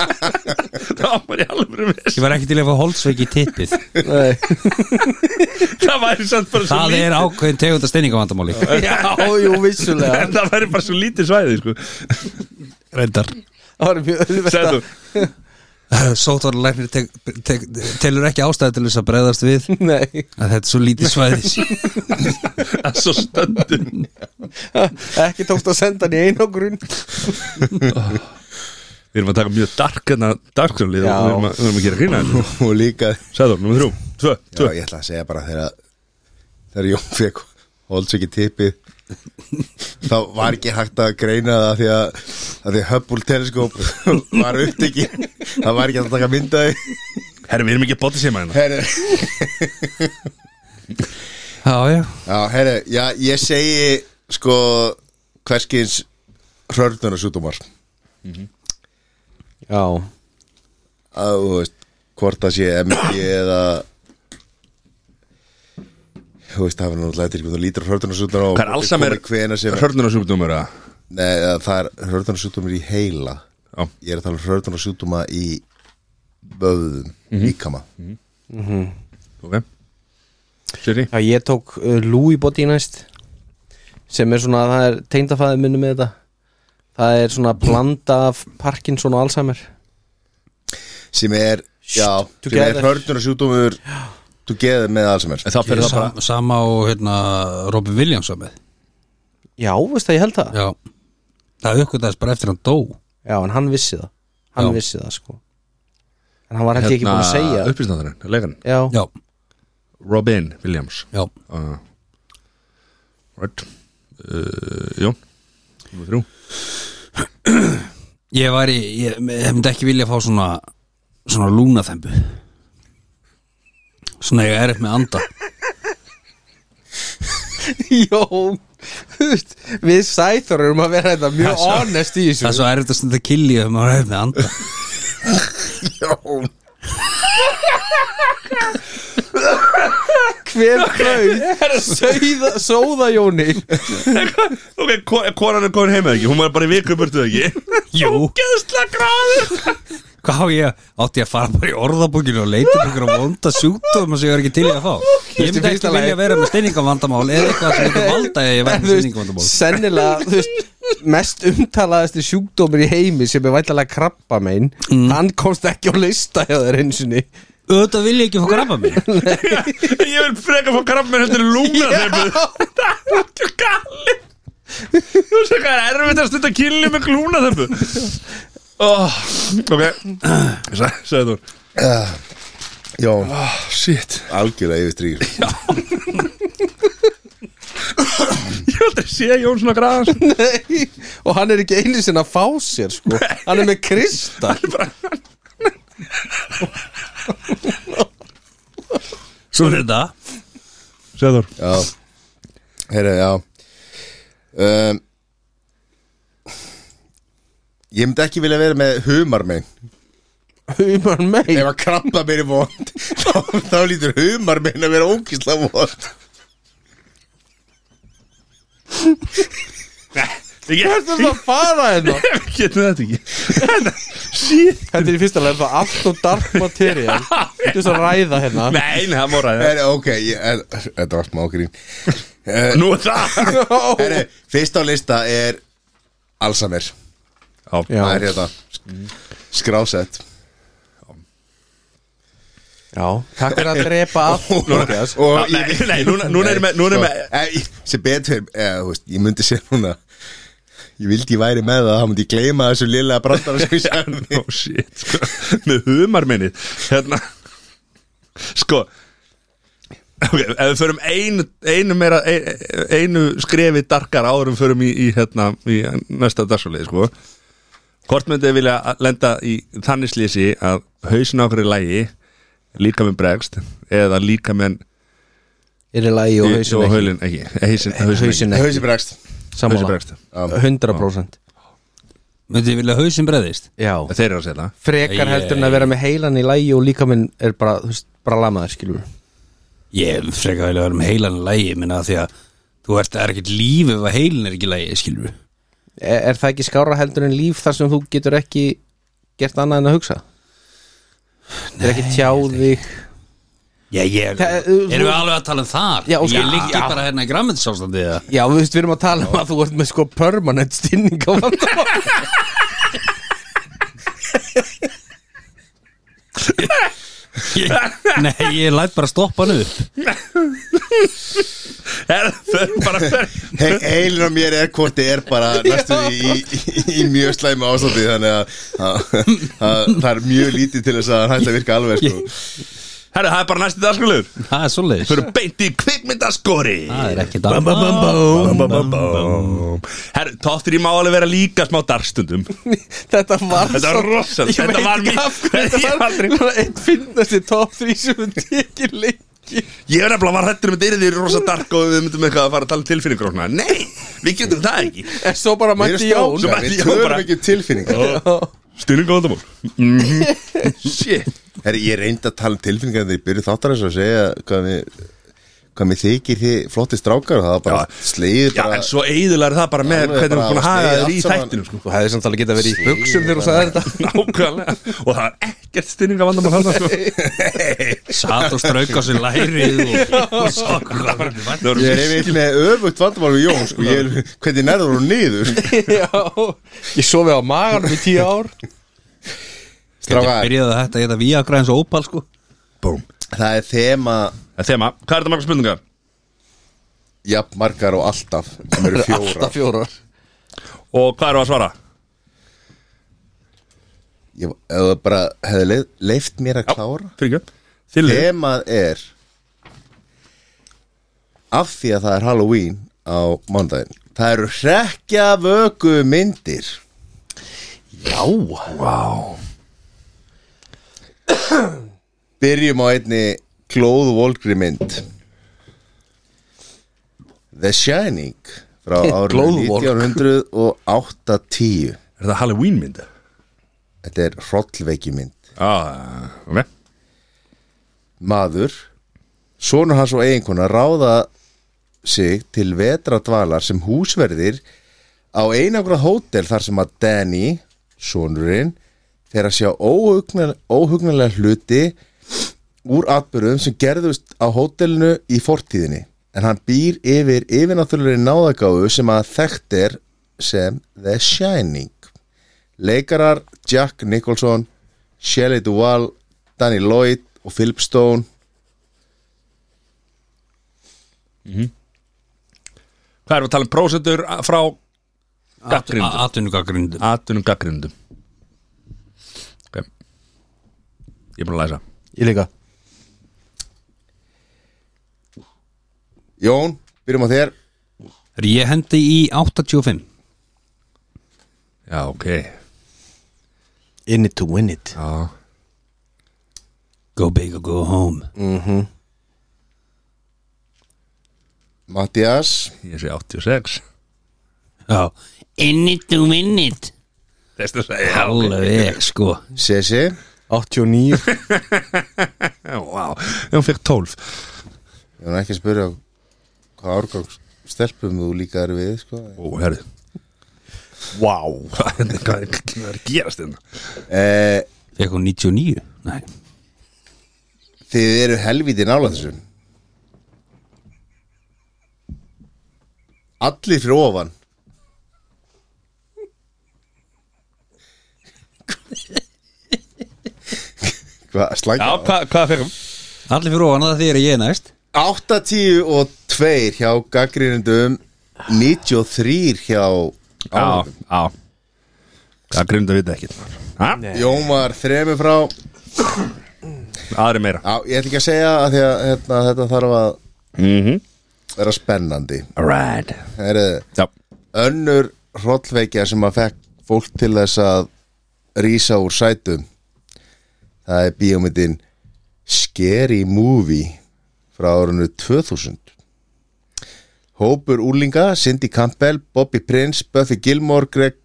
það var bara í alveg
ég var ekki til í að fá holdveiki í tippið
Nei
það væri samt bara svo
það er ákveðin tegunda steiningavandamáli
Já, jú, vissulega
en það væri bara svo lítið svæði sko.
reyndar
Það var mjög auðvelt
Segðu
að
þú,
sótvarlæknir tek, tek, telur ekki ástæði til þess að breyðast við
Nei,
að þetta er svo lítið svæðis
það er svo stöndum
ekki tókst að senda hann í einangrun
við erum að taka mjög dark en að darksjónlið og
Já.
við erum að, við erum að gera grína þessu.
Og líka
Segðu, nummer þrjú, tvö,
Já,
tvö
ég ætla að segja bara þegar þegar Jón fekk holds ekki tipið þá var ekki hægt að greina það af því að, að því að Hubble teleskóp var uppteki það var ekki hægt að taka myndaði
herru, við erum ekki að hérna. bóti sér maður
herri,
já, já,
já, herri, já, ég segi sko hverskins hrörnunarsútumar
Já,
að þú veist hvort það sé MG eða þú veist það er náttúrulega eftir hvernig þú lítur hrörnunarsútumar
hvað er allsamer
hvena sem
hörnunarsjúkdómur eða?
Nei, eða það er hörðunarsjúkdómur í heila
Já.
Ég er að tala um hörðunarsjúkdóma í vöðum,
Mhm.
líkama
ok Siri,
já ég tók uh, Louis Body næst sem er svona, það er tengdafæði minni með þetta Það er svona blanda af Parkinson og Alzheimer
sem er, já, sem er
together.
hörðunarsjúkdómur together með Alzheimer
en þá fyrir það bara
sam, sama og hérna, Robin Williams var með
Já, veist það, ég held það Já,
já, það aukvitaðist bara eftir hann dó
en hann vissi það Hann
Já.
vissi það, sko En hann var held ég ekki búin að segja
uppistandurinn, Hérna, leikarinn
Hérna- Já,
já,
Robin Williams
já,
uh, Right uh, Jón Númer þrjú
ég var í ég, ég myndi ekki vilja fá svona svona lúnaþembu svona ég er upp með anda
Jón þú veist, Við sæþur erum að vera þetta mjög
svo-
honest í
það
þessu
er svo erfitt að stunda að killi ef maður er upp með anda
Hver brauð Sauða- Sóða Jóni
Ok, ko- konan er komin heim eða ekki Hún var bara í viku burtu eða ekki
jú,
Gæðsla gráður
hvað á ég átti ég að fara bara í orðabókinu og leita um einhverja vonda sjúkdóma sem ég var ekki til í að fá ég myndi
fyrsta
ekki
lagi-
vilja vera með steiningavandamál eða eitthvað sem myndi valda að ég vera með
En þú veist,
steiningavandamál
Sennilega þú veist, Mest umtalaðasti sjúkdómur í heimi sem er væntalega krabba mein Hann komst ekki á lista hjá þér einsinni
auðvitað vil ég ekki fá krabba minn
Ég vil freka fá krabba minn heldur lúna þeimu Það er ekki gali Þú veist hvað er erfitt að stunda kynli með lúna þeimu oh, Ok Sæ- Sagði þú
Jón,
oh, Shit
algjörlega yfir stríð
Ég hef aldrei sé Jón svona sko, græðans
Nei, og hann er ekki einu sinna að fá sér sko. hann er með kristall
Svo er þetta
Sæður
Já, heyrðu, já um, Ég myndi ekki vilja vera með humar minn
human
Ef
mate
að krabba mér er vond þá, þá lítur humar minn að vera ókísla vond
Ég hef
Hvert er það að fara hérna?
getur þetta ekki Þetta- Shit
Þetta er í fyrsta lega það allt og dark material Þú veist að ræða hérna
Nei, nei, það má ræða
Heyrðu, ok, ég, en- þetta var smá grín
Nú er það
Heyrðu, fyrst á lista er Alzheimer
Já.
Það er hérna Skrásett
Já, takk fyrir að drepa allt Matthías.
Og
Nei,
ég-
nei, núna- núna er ég með- núna er ég með-
Sko, eh, ég- sem betur, eh, þú veist, ég myndi sér núna Ég vildi ég væri með það, þá myndi ég gleyma þessu lilla brandara sko sem ég sagði
oh shit sko, með humarminnið hérna sko ok, ef við förum einu einu, meira, ein- einu skrefi darkar árum förum í, í, hérna, í næsta dagsfólið sko hvort myndið þið vilja að lenda í þannig slísi að hausin á okkur í lægi líka með bregst eða líka með
Er í lagi og hausin ekki
haulin ekki, hausin, hausin,
Hausin
Hauðsir
ekki,
bregst
sammála
hausinn bregst.
100%
Myndi ég vilja að hausin breðist
Já,
þeir eru að segja það
frekar heldur en að vera með heilan í lagi og líka minn er bara, þú veist, bara lamaður skilur
Ég freka vilja vera með heilan í lægi minna því að þú ert er ekkert líf ef að heilin er ekki í lægi skilur við
er, er það ekki skára heldur en líf þar sem þú getur ekki gert annað en að hugsa? Nei, er ekki tjáð þig
Já, ég,
Þa-
erum við alveg að tala um þar?
Já, ok.
ég liggi
Já.
bara hérna í grammetinsástandi eða
Já, við, veist, við erum að tala um að þú ert með sko permanent stinning á vandamál
Ég- Nei, ég læt bara stoppa hann upp
Herra, förum bara förum
He- Heilin á mér er hvort þið er bara næstu í, í, í, í mjög slæmi ástandi þannig að- að að það er mjög lítið til þess að hann hætti að virka alveg sko.
Herra, það er bara næsti dagsfólið
Það er svoleiðis
Förum beint í kvikmyndaskori
Það er ekki
Bum, bum, bum, bum, bum, bum, bum. Herru, tótt þér í má alveg vera líka smá darstundum
Þetta var
Þetta var rosalegt.
Ég
Þetta
veit
var
ekki
mjög-
af
Ég
hverju Þetta
hef
var
aldrei-
bara einn finnast í top 3 sem við tekið lengi
Ég er nefnilega var hættur um þetta yrði rosa dark og við myndum eitthvað að fara að tala um tilfinningur og svona Nei, við getum það ekki
En svo bara
Við erum
mætti Jón
strákar, við törum ekki um tilfinningar
Styrning góðamál Shit
Herri, ég reyndi að tala um tilfinningar þegar ég byrjuð þáttar þess að segja hvað mér, hvað mér þykir þið flotti strákar og það var
Já.
bara slegið
Já,
bara
en svo eiðular það bara með
Alveg
hvernig við
bara
búin að
sniðið
haga þér í
allt saman.
þættinu sko
Þú hefði samt alveg getað verið í buksum þegar þú sagði þetta
Nákvæmlega Og það er ekkert styrninga vandamál hann sko
Satt og strauk á sér lærið og, og sá hvað það var
Það voru
Ég er yfir með öfugt vandamál við Jón sko, ég, er- hvernig nærður og niður
Já, ég sofi á maganum í 10 ár
Strákar
Strákar,
Byrjaði þetta að geta víagra eins og ópal sko
Búm
það er þema
Það er Þema, hvað er þetta margar spurningar?
jafn margar og alltaf sem eru fjóra
Alltaf fjórar
Og hvað eru að svara?
Ég ef það bara hefði leif, leift mér að klára
Fyrir ekki Þillu
Þemað er Af því að það er Halloween á mándaginn Það eru hrekja vöku myndir
Já wow.
Byrjum á einni Glóð Volgri mynd The Shining Frá árið
Glóðvolk.
1980
Er það Halloween myndu?
Þetta er hrollveiki mynd
Ah, ok
maður sonur hans og eiginkona ráða sig til vetradvalar sem húsverðir á einangra hótel þar sem að Danny, sonurinn fer að sjá óhugnal, óhugnalega hluti úr atbyrðum sem gerðust á hótelinu í fortíðinni en hann býr yfir yfirnáttúrulega náðagáfu sem að þekkt er sem The Shining leikarar Jack Nicholson Shelley Duvall, Danny Lloyd og Philip Stone
Hvað erum við að tala um prósendur a- frá gaggrindum?
Atvinnugaggrindum
Atunum gaggrindum Ok Ég er búin að læsa
Ég líka
Jón, byrjum á þér
Ég hendi í 85
Já, ok
In it to win it
Já
Go big or go home
Mattias
Ég sé 86
Já In it to win it
Þess að segja já, ok.
Alveg sko
Sesi
89
Já, Vá, ég hún fekk 12
Ég var nú ekki að spyrja hvað árgang stelpum þú líka er við sko.
Ó, herri
Vá
Hvað hvað- hvað er að gerast hérna?
eh,
Fekk hún 99 Nei
Þið eru helviti nála þessu Allir fyrir ofan Hvað,
Já,
slanga?
hvað, hvað fekkum?
Allir fyrir ofan að því er ég næst
82 og 2 hjá gaggrínundum 93 hjá
Já, já Gaggrindum við ekki Ha?
Jón var þremi frá
Aðri meira
Já, ég ætla ekki að segja að því að hérna, þetta þarf að
Mhm.
vera spennandi
Alright
Það eru
Já,
önnur hrollveikja sem að fekk fólk til þess að rísa úr sætum Það er bíómyndin Scary Movie frá árunnu 2000 Hópur Úlinga, Cindy Campbell, Bobby Prince, Buffy Gilmore, Greg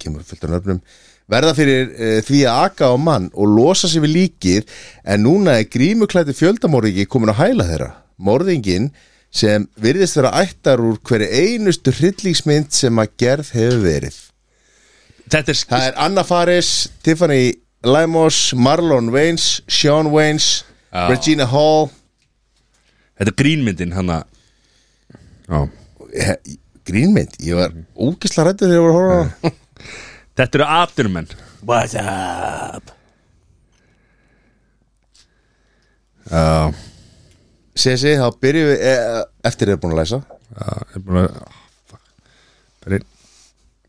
kemur fullt af nöfnum verða fyrir uh, því að aka á mann og losa sér við líkið en núna er grímuklæti fjöldamorðingi komin að hæla þeirra morðingin sem virðist vera ættar úr hverju einustu hryllíksmynd sem að gerð hefur verið
þetta er
það er Anna Faris, Tiffany Lemos, Marlon Wayans, Sean Wayans
Já.
Regina Hall
Þetta er grínmyndin hann að Já
He- Eh, grínmynd, ég var ógisla rættur þegar ég var að horfa á hana.
Þetta eru atvinnumenn
What's up
Já,
Sessi, þá byrjum við eh, eftir þið er búin að læsa
já, ég er búin að ah, Fuck Fyrir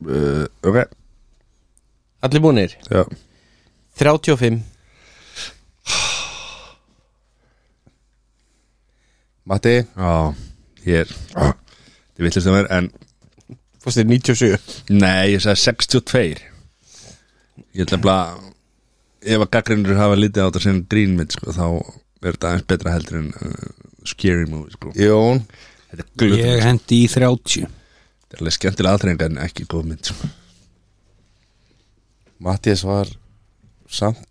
uh, Ok,
Allir búinir
já
35
Matti,
Já, ég er ah, Þetta er villist að mér en
Fórstu 97
Nei, ég sagði 62 Ég ætla bara Ef að gaggrinur hafa litið á þetta sem grínmynd sko, þá er þetta aðeins betra heldur en uh, scary movie sko.
Jón
Þetta er glutum
Ég hendi í 30
Þetta er alveg skemmtilega aðþrenga en ekki góð mynd sko.
Mattias var samt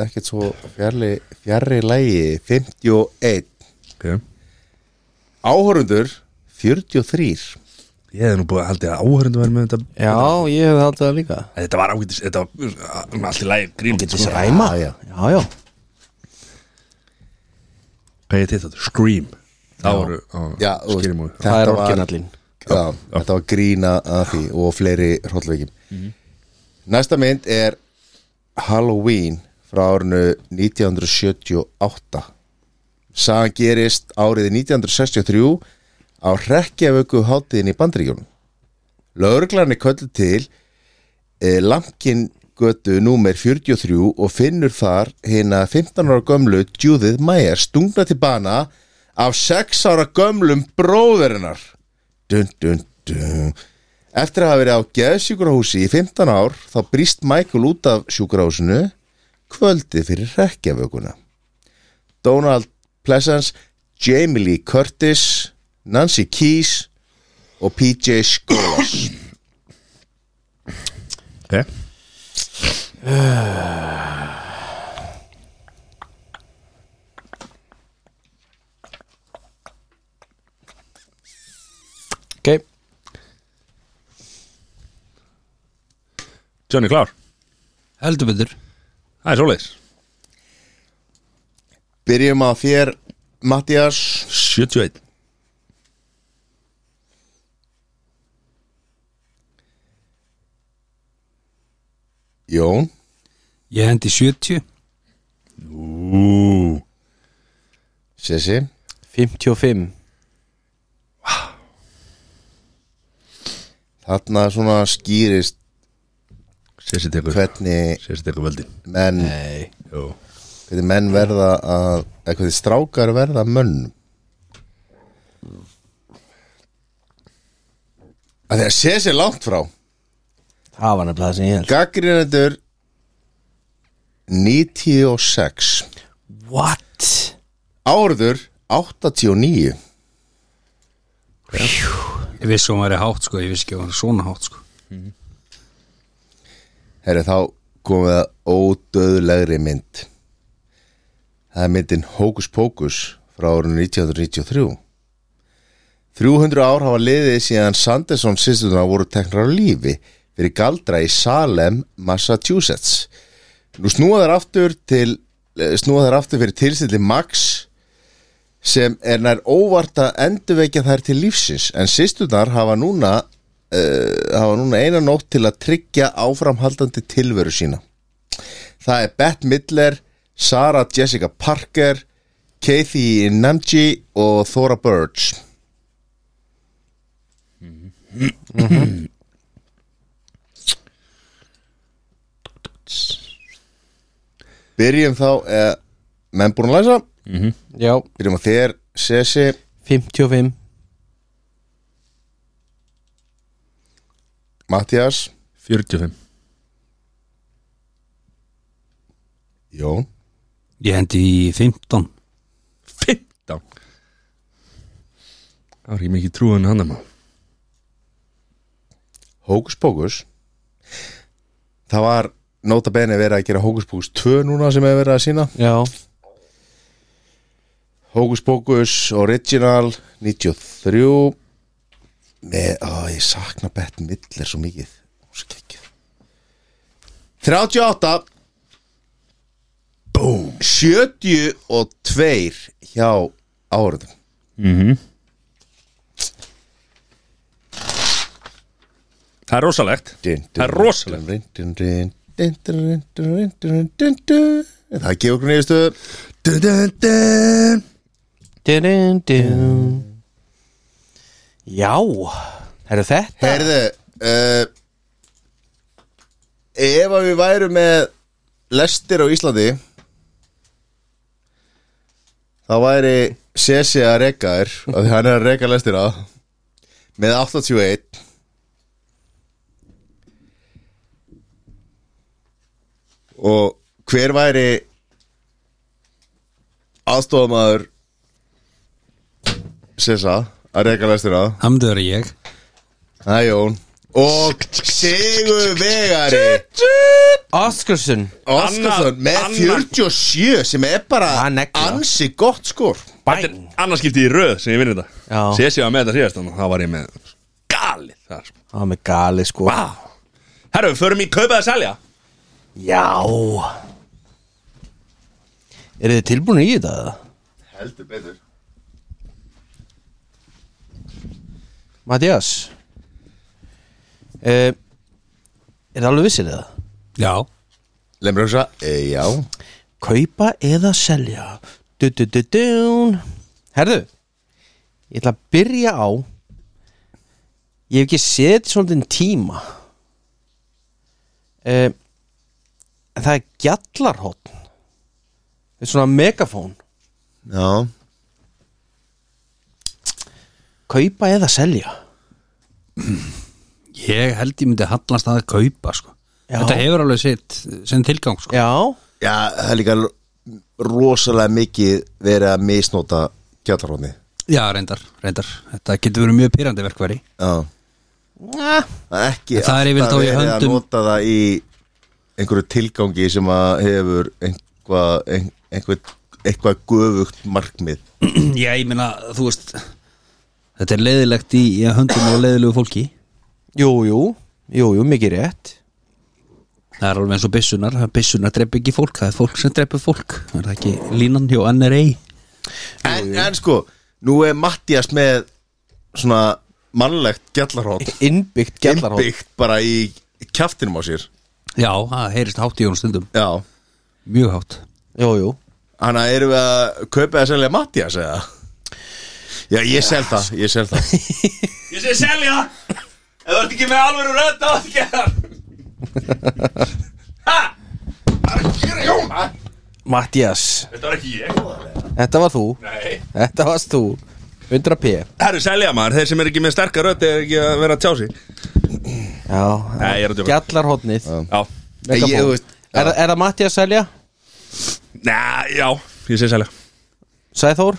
ekkert svo fjarri, fjarri lægi 51
okay.
áhorundur 43
Ég hefði nú búið að haldið að áhörundu verið með þetta
Já, ég hefði haldið það líka
Þetta var ágætis, þetta var um, allt í lægi grín
Getið sér ræma
Já, já.
já, já.
Hvað ég til þetta? Scream Það voru á,
Já, þú veist,
skýri múi
það-
Já,
Það er
Þetta var-
orginallinn
já, þetta var grína að því og fleiri hróllveikim næsta mynd er Halloween frá árinu 1978 sagan gerist árið 1963 á hrekkjavöku hátíðin í Bandaríkjónum lögreglan er köllu til e, Lampkin götu númer 43 og finnur þar hérna 15 ára gömlu Judith Meyer stungna til bana af 6 ára gömlum bróðurinnar dun, dun, dun. Eftir að hafa verið á geðsjúkrahúsi í 15 ár þá brýst Michael út af sjúkrahúsinu kvöldið fyrir rekjavökunna. Donald Pleasance, Jamie Lee Curtis, Nancy Keys og PJ Skolas.
okay.
Ok
Johnny Klár,
Heldur betur
það er svoleiðis
Byrjum á þér, Mattias.
71
Jón.
Ég hendi í 70
Ú,
Sessi
55
Þarna svona skýrist
sér sér tekur
hvernig
Sér sér tekur völdin
menn
Nei
Jú
hvernig menn verða að eða hvernig strákar verða mönn að því að sé sér langt frá
Það var nefnilega það sem ég held
gaggrinendur 96
What?
áður 89
Ég vissi hún væri hátt sko, ég vissi ekki að hún var svona hátt sko
herri þá komum við að ódöðlegri mynd það er myndin Hókus Pókus frá árinu 1993 300 ár hafa liðið síðan Sanderson sýstuna voru teknar á lífi fyrir galdra í Salem, Massachusetts. Nú snúa þær aftur til eh, snúa þær aftur fyrir tilstilli Max sem er nær óvart að endurvekja þær til lífsins en sýstunar hafa núna uh, hafa núna eina nótt til að tryggja áframhaldandi tilveru sína. Það er Bette Midler, Sarah Jessica Parker, Kathy Namji og Thora Birch. Mhm. Byrjum þá eh, menn búin að læsa
Já,
Byrjum á þér, Sessi
55
Mattias
45
Jón
Ég hendi í 15
15 Það var ég mikið trúin hann að maður
Hókus Pókus Það var nota bene verið að gera Hókus Pókus 2 núna sem hefur verið að sína
Já
Hókus Pókus Original 93 Með, ó, ég sakna Bette Midler svo mikið Hún er svo geggjuð. 38 Boom 72 hjá árðum
Það er rosalegt Það er rosalegt
Það gefur okkur nýðustu
dun, dun, dun.
dun, dun. Já Herru þetta
Heyrðu uh, Ef að við værum með lestir á Íslandi þá væri Sessi að reka þér af því hann er að reka lestir á með 81 og hver væri aðstofamaður Sessa að reka lestir á
Það myndi vera ég
Það er Jón Og Sigur Vegari
Oscarsson
Óskarsson með
Annar-
47 sem er bara
Hann neglar.
ansi gott skor
Bæn
Annars skipti ég röð sem ég vinn þetta
Já.
Sér sér að með þetta síðast þannig að Það var ég með galið það sko.
Það var með gali sko
Vá Herru, förum í kaupa að selja
Já Eru þið tilbúinu í þetta? eða?
Heldur betur
Mattias uh, Er það alveg vissir það?
Já
Lemur hugsa, e, já
Kaupa eða selja du, du, du, dun. Herðu Ég ætla að byrja á Ég hef ekki séð þetta svolítið tíma uh, Það er gjallarhótt Þetta er svona megafón
Já,
Kaupa eða selja
Ég held ég myndi hallast að kaupa sko
Já.
Þetta hefur alveg sitt sem tilgang sko
Já,
já það er líka rosalega mikið verið að misnota gjallarhóni
Já, reyndar, reyndar Þetta getur verið mjög pyrrandi verkværi
Já
Ah,
Það er ekki
En það er yfirleitt
alltaf
á í
verið að
höndum-
nota það í einhverju tilgangi sem að hefur einhvað ein, einhver, eitthvað göfugt markmið
Já, ég meina, þú veist Þetta er leiðilegt í, í höndum og leiðilegu fólki
jú, jú, jú, jú, mikið rétt
Það er alveg eins og byssunar Byssunar drepp ekki fólk, það er fólk sem dreppur fólk Er það ekki línan hjá NRA?
en, en sko, nú er Mattias með svona mannlegt gjallarhótt
Innbyggt gjallarhótt
innbyggt bara í kjaftinum á sér
Já, það heyrist hátt í hún stundum
já,
Mjög hátt
Jú, jú
Þannig að erum við að kaupa það sennilega Mattias eða? Já, ég sel það, ég sel það
Ég segi selja Ef þú ert ekki með alvöru rödd þá áttu ekki það Ha! Það er að gera Jón Ha?
Mattias,
Þetta var ekki ég
þetta var þú
Nei
Þetta varst þú 100p
Herru, selja maður, þeir sem er ekki með sterka rödd er ekki að vera að tjá sig
Já,
Nei, ég er að djóka.
Gjallarhóttnið
Já
Ég, ég, þú veist,
er, er það Matti að selja?
Næ, já, ég segi selja
Sæþór?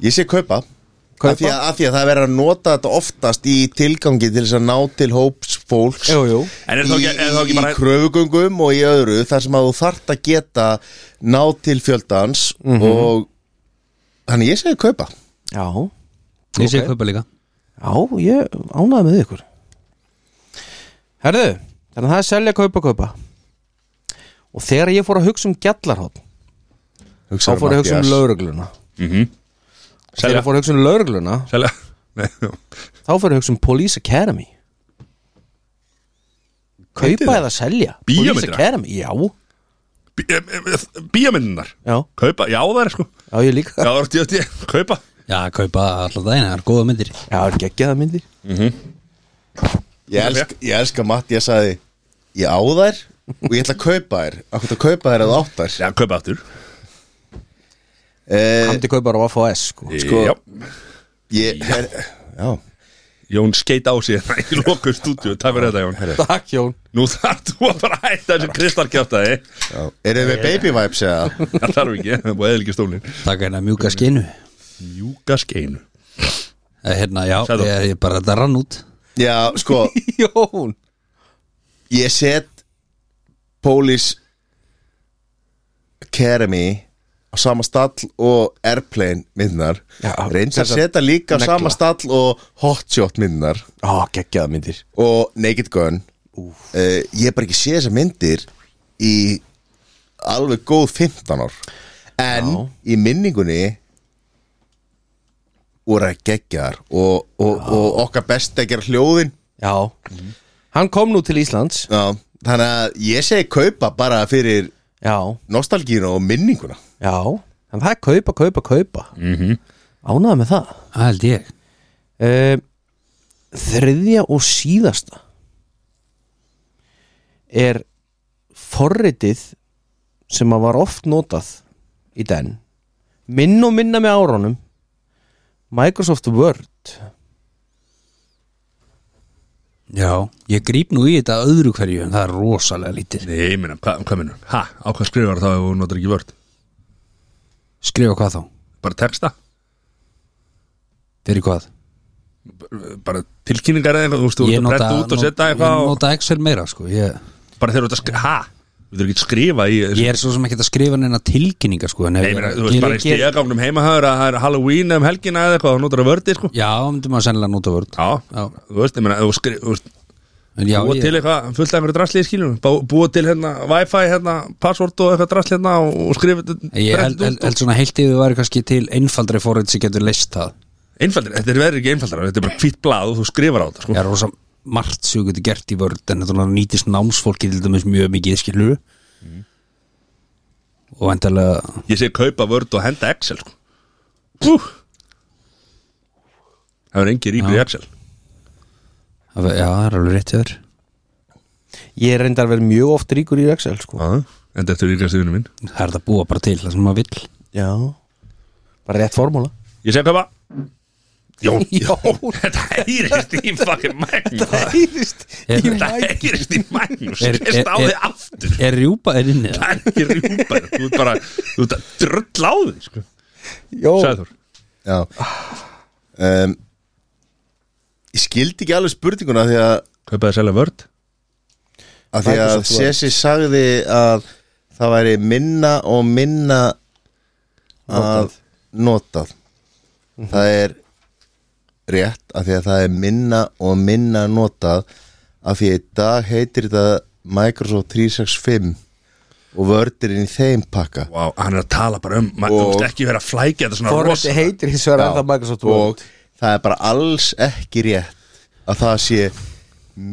ég sé kaupa
Kaupa?
Af því, að, af því að það er verið að nota þetta oftast í tilgangi til þess að ná til hóps fólks
Jú, jú
En er þá ekki, er þá
í,
ekki bara
í kröfugöngum og í öðru þar sem að þú þart að geta ná til fjöldans
Mhm.
og þannig ég segi kaupa
Já,
Ég sé kaupa líka
já, ég ánaði með ykkur Herðu, þannig að það er selja, kaupa, kaupa Og þegar ég fór að hugsa um gjallarhótt Þá fór ég að hugsa um laurugluna Þegar
Selja,
ég fór að hugsa um laurugluna
selja Nei, já.
Þá fór ég að hugsa um Police Academy Kaupa eða selja Police
Bíómyndir?
Academy, já
Bí- em, em, em, Bíómyndirnar
Já,
Kaupa, já það er sko
já ég líka
Já, það er tíu, tíu, kaupa
Já, kaupa alltaf daginn, það er góða myndir
Já, er geggjaða myndir
Ég elska, ég elska Matti, ég sagði Ég á þær og ég ætla að kaupa þær Akkur að kaupa þær eða átt þær
Já, kaupa aftur
eh,
Hamdi kaupar á FHS sko.
Sko-
E, já.
ég, her, Já,
Jón skeit á sig hérna í lokuð stúdíu Takk fyrir þetta Jón
Takk Jón
Nú þarf þú að bara hætta þessu kristalkjátaði
já Eru við baby vibes eða?
Það þarf ekki, það er búið eðliki stólin
Takk hérna mjúka skinu
Mjúka skeinu
Eh, Hérna, já,
Sæður.
ég, ég bara þetta rann út
Já, sko
Jón
Ég set Police Academy á sama stall og Airplane myndinar
Já,
Reyndar
sem sagt,
seta líka á
negla.
sama stall og Hotshot myndinar
Á, geggjaða myndir
og Naked Gun uh, ég hef bara ekki séð þessar myndir í alveg góð 15 ár en í minningunni voru að gegja þar og, og, og okkar best að gera hljóðin
Já Hann kom nú til Íslands
Já, þannig að ég segi kaupa bara fyrir
Já,
nostalgínu og minninguna
já En það er kaupa, kaupa, kaupa mm Ánæða með það
Það held ég
uh, Þriðja og síðasta Er forritið sem að var oft notað í den Minn og minna með árunum Microsoft Word
Já, ég gríp nú í þetta öðru hverju en það er rosalega lítið
Nei, ég minna, hvað hva minnur? Ha, á hvað skrifar þá ef þú notar ekki vörd?
Skrifa hvað þá?
Bara texta?
Fyrir hvað?
Bara tilkynningar eða eitthvað? Þú veist, þú ert að bretta út og setja
ég
eitthvað og...
nota Excel meira sko Ég,
Bara þegar þú ert að skrifa, ha? Þú ert ekki að skrifa í...
ég er svo sem ekki að skrifa neina tilkynningar sko
Nei, ég meina, þú veist bara í stíðagangnum heima höfður að það er Halloween um helgina eða eitthvað og notar að vördi, sko
Já, það myndum að sennilega nota vörð
Já,
Já.
þú veist, ég meina, þú skrif, þú veist,
En já,
búa til
ég,
eitthvað fullt af einhverju drasli í skiljum búa til hérna wifi, hérna password og eitthvað drasli hérna og, og skrifa þetta
ég held-
prentið
held
út og-
held svona heilt yfir væri kannski til einfaldri forrið sem getur leist það
einfaldir, þetta er verið ekki einfaldara þetta er bara hvitt blað og þú skrifar á þetta sko.
Já, rosa margt sem þú getur gert í vörð en þetta nýtist námsfólki til dæmis mjög mikið skilur
Mm.
og endalega
ég segi kaupa vörd og henda Excel sko. Ú. það er engi rýmur í Excel
já, það er alveg rétt yfir
Ég er reyndar að vera mjög oft ríkur í Excel sko
Ah.
en þetta er ríkast yfirinu minn
það er það að búa bara til það sem maður vill
Já Bara rétt formúla
ég segi kaupa Jón,
Jón.
þetta heyrist í fucking Magnus
Ærist
Er-
í
þetta
mæk
heyrist í Magnus
Er-
þetta á
er-
þig
er-
aftur
er rjúpa er inni
það
það?
er ekki rjúpar þú ert bara, þú ert að drölla á þig sko.
Jó,
Sæður
Já um, Ég skildi ekki alveg spurninguna því að,
Kaupaði að selja vörd
að, því að
Microsoft Word.
Sessi sagði að það væri minna og minna að notað Það er rétt af því að það er minna og minna notað af því að í dag heitir þetta Microsoft 365 og vördirinn í þeim pakka
Vá, hann er að tala bara um ma- Þú
Og-
veist ekki vera að flækja þetta svona
Forrest
rosa
heitir hins vegar
Já,
ennþá Microsoft
og
Word
það er bara alls ekki rétt að það sé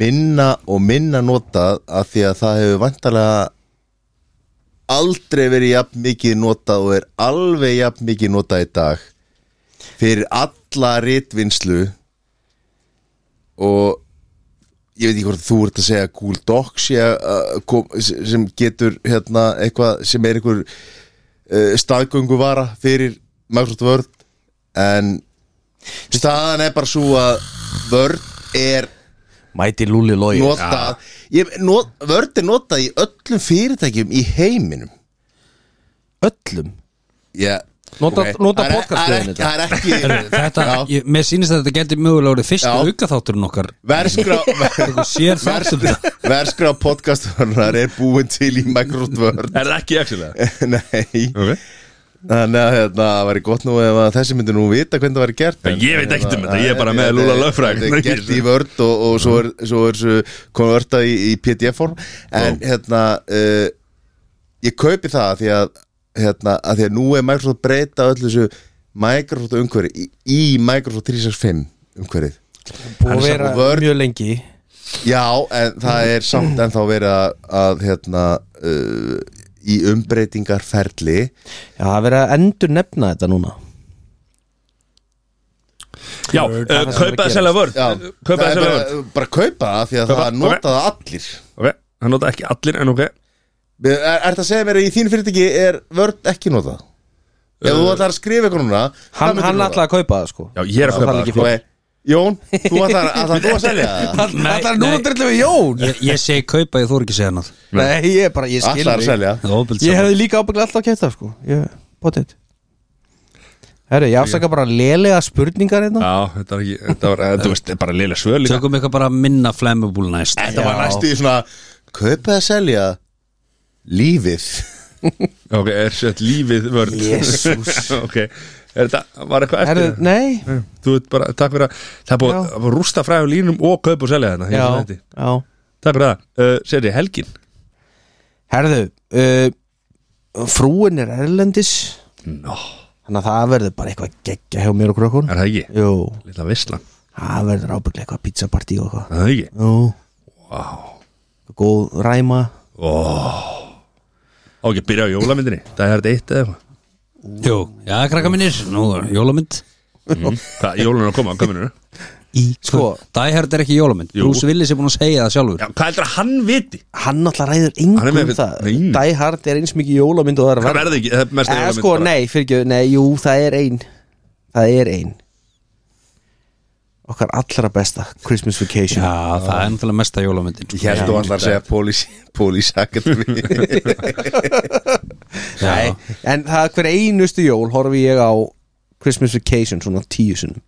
minna og minna notað af því að það hefur vantarlega aldrei verið jafn mikið notað og er alveg jafn mikið notað í dag fyrir alla ritvinnslu og ég veit ekki hvort þú ert að segja Google Docs ég, uh, kom, sem getur hérna eitthvað sem er einhver uh, staðgöngu vara fyrir Microsoft Word en staðan er bara svo að Word er
Mæti Lúli Lói
notað ég, not, Word er notað í öllum fyrirtækjum í heiminum
Öllum
Já,
Nota-
ok.
nota
Það er-
podcaststöðin
Það er ekki, það er ekki
Þetta,
Já.
ég, mér sýnist að þetta getur mögulega orðið fyrsta
Já.
aukaþátturinn okkar
Verskrá
Sér þáttum þetta
Verskrá podcastvörnar er búin til í Microsoft Word
Er það ekki actually?
Nei
Okay.
Þannig að hérna, það væri gott nú ef að þessi myndi nú vita hvernig það væri gert en- hérna,
Ég veit ekkert um
en-
þetta, ég er bara
en-
með
en-
Lúlla
en-
lögfræðing.
Þetta er gert í vörd og, og svo er, svo er svo komið vörda í, í pdf form En hérna, uh, ég kaupi það því að, hérna, að því að nú er Microsoft að breyta öllu þessu Microsoft umhverfi í, í Microsoft 365 umhverfið
Búið að vera
samt Word.
mjög lengi
Já, en það er samt ennþá verið að, að hérna uh, í umbreytingarferli
Já, það er verið að endur nefna þetta núna
Já,
Word,
uh,
það er það sem er að
kaupa að selja vörn
Já, það
Kaupa að
er
selja
bara,
vörn
bara kaupa það því að
Kaupa,
það notaði allir
Ok, það nota ekki allir en ok
Er, er það að segja mér að í þín fyrirtæki er vörd ekki notað? Ef þú ætlar að skrifa eitthvað núna
Hann, hann ætlaði að kaupa það sko
Já, ég er að kaupa
það
það
ekki fyrir.
okay. Jón, þú ætlar, ætlar þú að selja það?
Nei,
Ætlaði núna
nei.
að drilla við Jón
Ég, ég segi kaupa, ég þór ekki að segja annað
Nei, ég er bara, ég skil
Ætlar að selja
Það er ofbeldi
Ég
saman.
hefði líka ábygglega alltaf að kæta sko Ég, potið Herri, ég afsaka bara lélega spurningar hérna
Já, þetta var ekki, þetta var, eh, þú veist, bara liðlega svöl líka
Tökum eitthvað bara minna flammable næst
Þetta var næstu í svona Kaupa að selja lífið
Ok, er sett lífið vörn
Jesús.
Ok, er þetta, var eitthvað
Herri,
eftir það?
nei
Þú veit bara, takk fyrir að Það er búið
Já.
að- að rústa fræðu línum og kaupa og selja þarna í
Já,
þessum þætti.
já
Takk fyrir það, uh, seti helgin
Herðu, uh, frúin er erlendis
Nó,
Þannig að það verður bara eitthvað geggja hjá mér og krökkun
er það ekki?
Jú,
Lilla vislan,
það verður ábygglega eitthvað pizzapartí og eitthvað
er það ekki?
Jú Góð ræma
Á ekki, að byrja á jólamyndinni, það er þetta eitt eða eitthvað
Jú, já, krakka mínir, nú, jólamynd
Hvað, jólun er að koma á kamerunum?
Í,
Sko.
Die Hard er ekki jólamynd
Jú.
Bruce Willis er búin að segja það sjálfur
Já, hvað heldur að hann viti?
Hann náttúrulega
Hann
ræður
er
engum
með-
um það
Nei.
Die Hard er eins mikið jólamynd og það er
Það verði ekki, það er mest
Eh, sko, nei, fyrir nei, jú, það er ein Það er ein Okkar allra besta Christmas Vacation
Já, það er náttúrulega mesta jólamyndin sko.
Ég held þú ætlar að segja Police, police Academy
Já,
Nei, En það hver einustu jól horfi ég á Christmas Vacation svona tíu sinum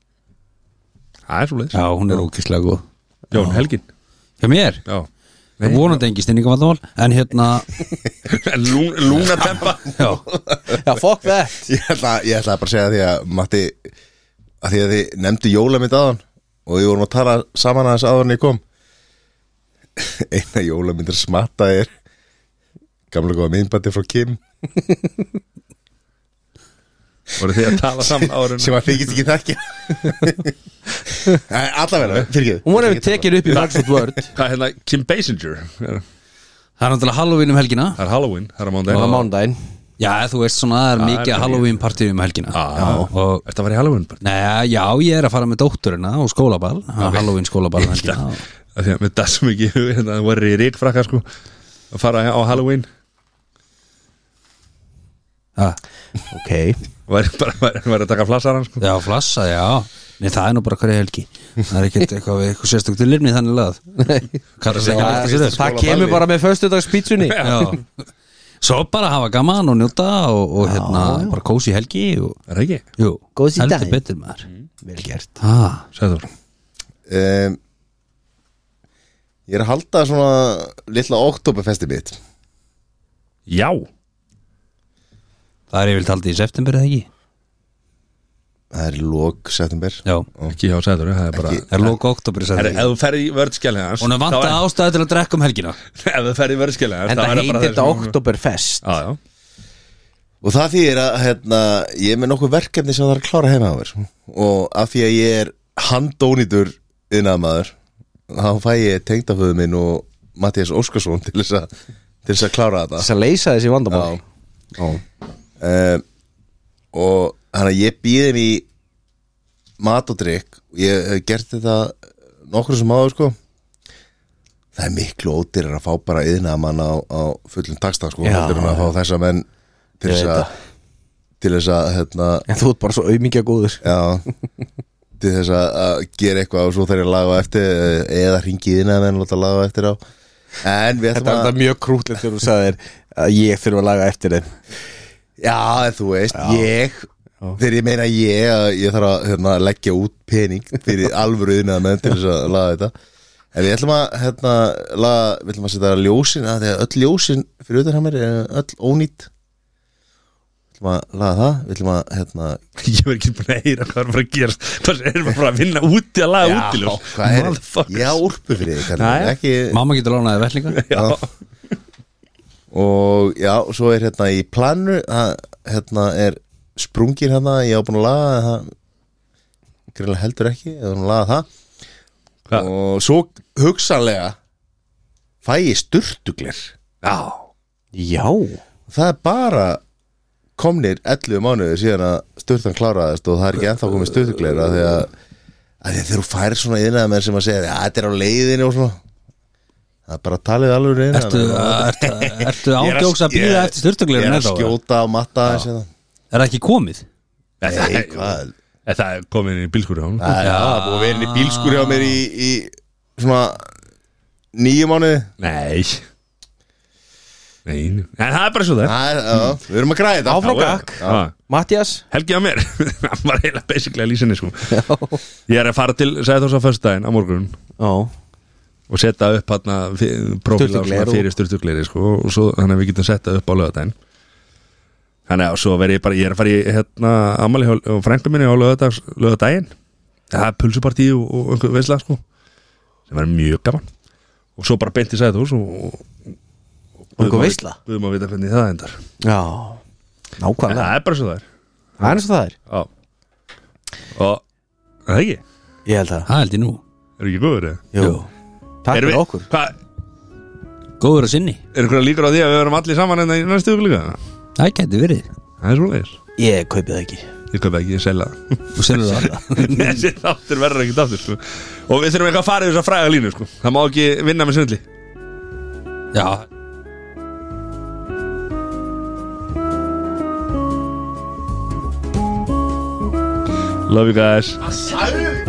Það er svo
já, hún er ókislega góð
Jón, helgin
Hjá mér,
Já
Nei, vonandi engi stinningamannamál En hérna,
Lú, Lúna tempa
já,
Já, fuck that
ég ætla, ég ætla bara að segja því að Matti, að því að þið nefndu jólamynd aðan og við vorum að tala saman aðeins aðan ég kom eina jólamyndar smatta er gamla góða myndbandi frá Kim
Voru þið að tala saman árun
sem að þykist ekki þekkja Nei, allavega, fyrirgeðu
Hún var hefur tekin upp í Microsoft Word
Hvað er hérna, Kim Basinger Er-
það er náttúrulega Halloween um helgina
Það er Halloween, það er á mándaginn
á mándaginn
Já, þú veist svona, það er
er
mikið
mikið.
Halloween partíum um helgina
Já,
Og
þetta var í Halloween bara
Nei, já, ég er að fara með dótturina á skólaball, okay. Halloween skólaball um helgina.
Af Því að með það sem ekki Það var í ríkfrakka sko Að fara á Halloween
Já,
Ok
Var bara var, var að taka flassar hann sko
já, flassa, já Nei, það er nú bara hverja helgi Það er ekkert eitthvað við eitthvað sérstök til lirni þannig lagað Kallar það ekki að lifta sér þess
Það kemur bara með föstudagspítsunni
Já Svo bara hafa gaman og njóta og, og hérna, bara kósi helgi og,
Er það ekki?
Jú,
Kósí
heldur
daginn.
betur maður
Vel gert
ah,
Sæður
um, Ég er að halda svona litla oktoberfesti mitt
Já
Það er yfirlt haldið í september eða ekki
Það er lók september
Já,
Ekki hjá Sæður Það er bara
Ekki.
er lóka oktober í
Er,
september
ef þú ferði í vörðskjælið hans
Hún er
þá
vantað ástæði til að drekka um helgina
Ef þú ferði í vörðskjælið hans
En
þá
það
er bara
heitir
þessi-
þetta Oktoberfest
Já, já
Og það þýðir að hérna, ég er með nokkuð verkefni sem það er að klára heima á mér og af því að ég er handónýtur innamaður þá fæ ég tengdaföðu minn og Mattias Óskarsson til þess að til þess að klára þetta
þess að leysa þessi vandamál
Já. um, og hann að ég býðin í mat og drikk og ég hef gert þetta nokkur sem áður sko það er miklu ódýrar að fá bara yðna mann á, á fullum taksta sko
Já.
heldur hann að fá þessa menn til
Ég
þess
veit
að
það.
til þess að hérna,
en þú ert bara svo auðmingja góður
já til þess að, að gera eitthvað og svo þær ég að laga á eftir eh, eða hringi yðna menn og láta laga á eftir á en við ætlum
þetta er
að
þetta mjög krútlegt þegar þú sagðir að ég þurfa að laga eftir þeim
Já, en þú veist, ég Þegar ég meina ég að ég þarf að hérna, leggja út pening fyrir alvöru yðnað menn til þess að laga þetta En við ætlum að hérna, laga, við ætlum að setja ljósin að þegar öll ljósin fyrir utan hann mér er öll ónýtt Við ætlum að laga það, við ætlum að hérna,
Ég verð ekki búin að heyra hvað er að fara að gera Hvað er maður bara að vinna úti að laga úti
hvað er Ég á úlpu fyrir þig,
Nei.
kannar, ekki
Mamma getur lánaði vellinga
Og já, svo er hérna í planu það, hérna er sprungir hérna, ég á búin að laga það greinlega heldur ekki ég á búin að laga það
Hvað?
og svo hugsanlega fæ ég sturtuglir
Já,
já,
það er bara komnir 11 mánuðir síðan að sturtan kláraðist og það er ekki ennþá komið sturtuglir af því að, að því að þegar þú færir svona yðnaðar menn sem að segja að þetta er á leiðinu og svona það er bara talið alveg reyna
Ertu, ertu,
Ég
ertu
er að-
ángjóks að býða
ég-
eftir
ég
styrtugleirinn
er
Er
að skjóta á matta aðeins hérna.
það ekki komið?
Nei, það
Nei,
er-
hvað Ah.
En Það er komin í bílskúri á hún
Það er það, búið að vera inn í bílskur hjá mér í, í svona nýju mánuði
Nei Nei, en það er bara svo það er.
Það er, já, við erum að græða þetta
Áfram
Já, já.
gakk.
Já.
Mattias
Helgi að mér Hann var heila basically að lýsinni sko Ég er að fara til, sagði þess að föstudaginn á morgun
já,
og setja upp hann prófíla
Sturlugler og-
fyrir styrtugleiri sko og svo þannig að við getum setta upp á lögadaginn Þannig að svo verð ég bara, ég er að fara í hérna ammali hjá- og frænku minni á lögadags, lögadaginn Það er pulsupartí og, og einhver veisla sko sem verður mjög gaman og svo bara beint í sæðu og, og,
Og einhver veisla?
Guðum að vita hvernig það endar
já
En
nákvæmlega,
það er bara svo það er
það er eins og það er
Já Og Er það ekki?
ég held það,
Það held ég nú
Er ekki góður eða?
jú, takk
Erum
fyrir
við-
okkur
Hvað,
Góður að sinni
er einhverja líkur á því að við verum allir saman en það er næstu ykkur líka?
Það geti verið
Það er svoleiðis
ég kaupið það ekki
Ég köpa ekki, ég selja það
Þú selur það
Þessi þáttur verður ekki þáttur sko. Og við þurfum eitthvað að fara yfir þess að fræga línu sko. Það má ekki vinna með sundli
Já
Love you guys
Sæður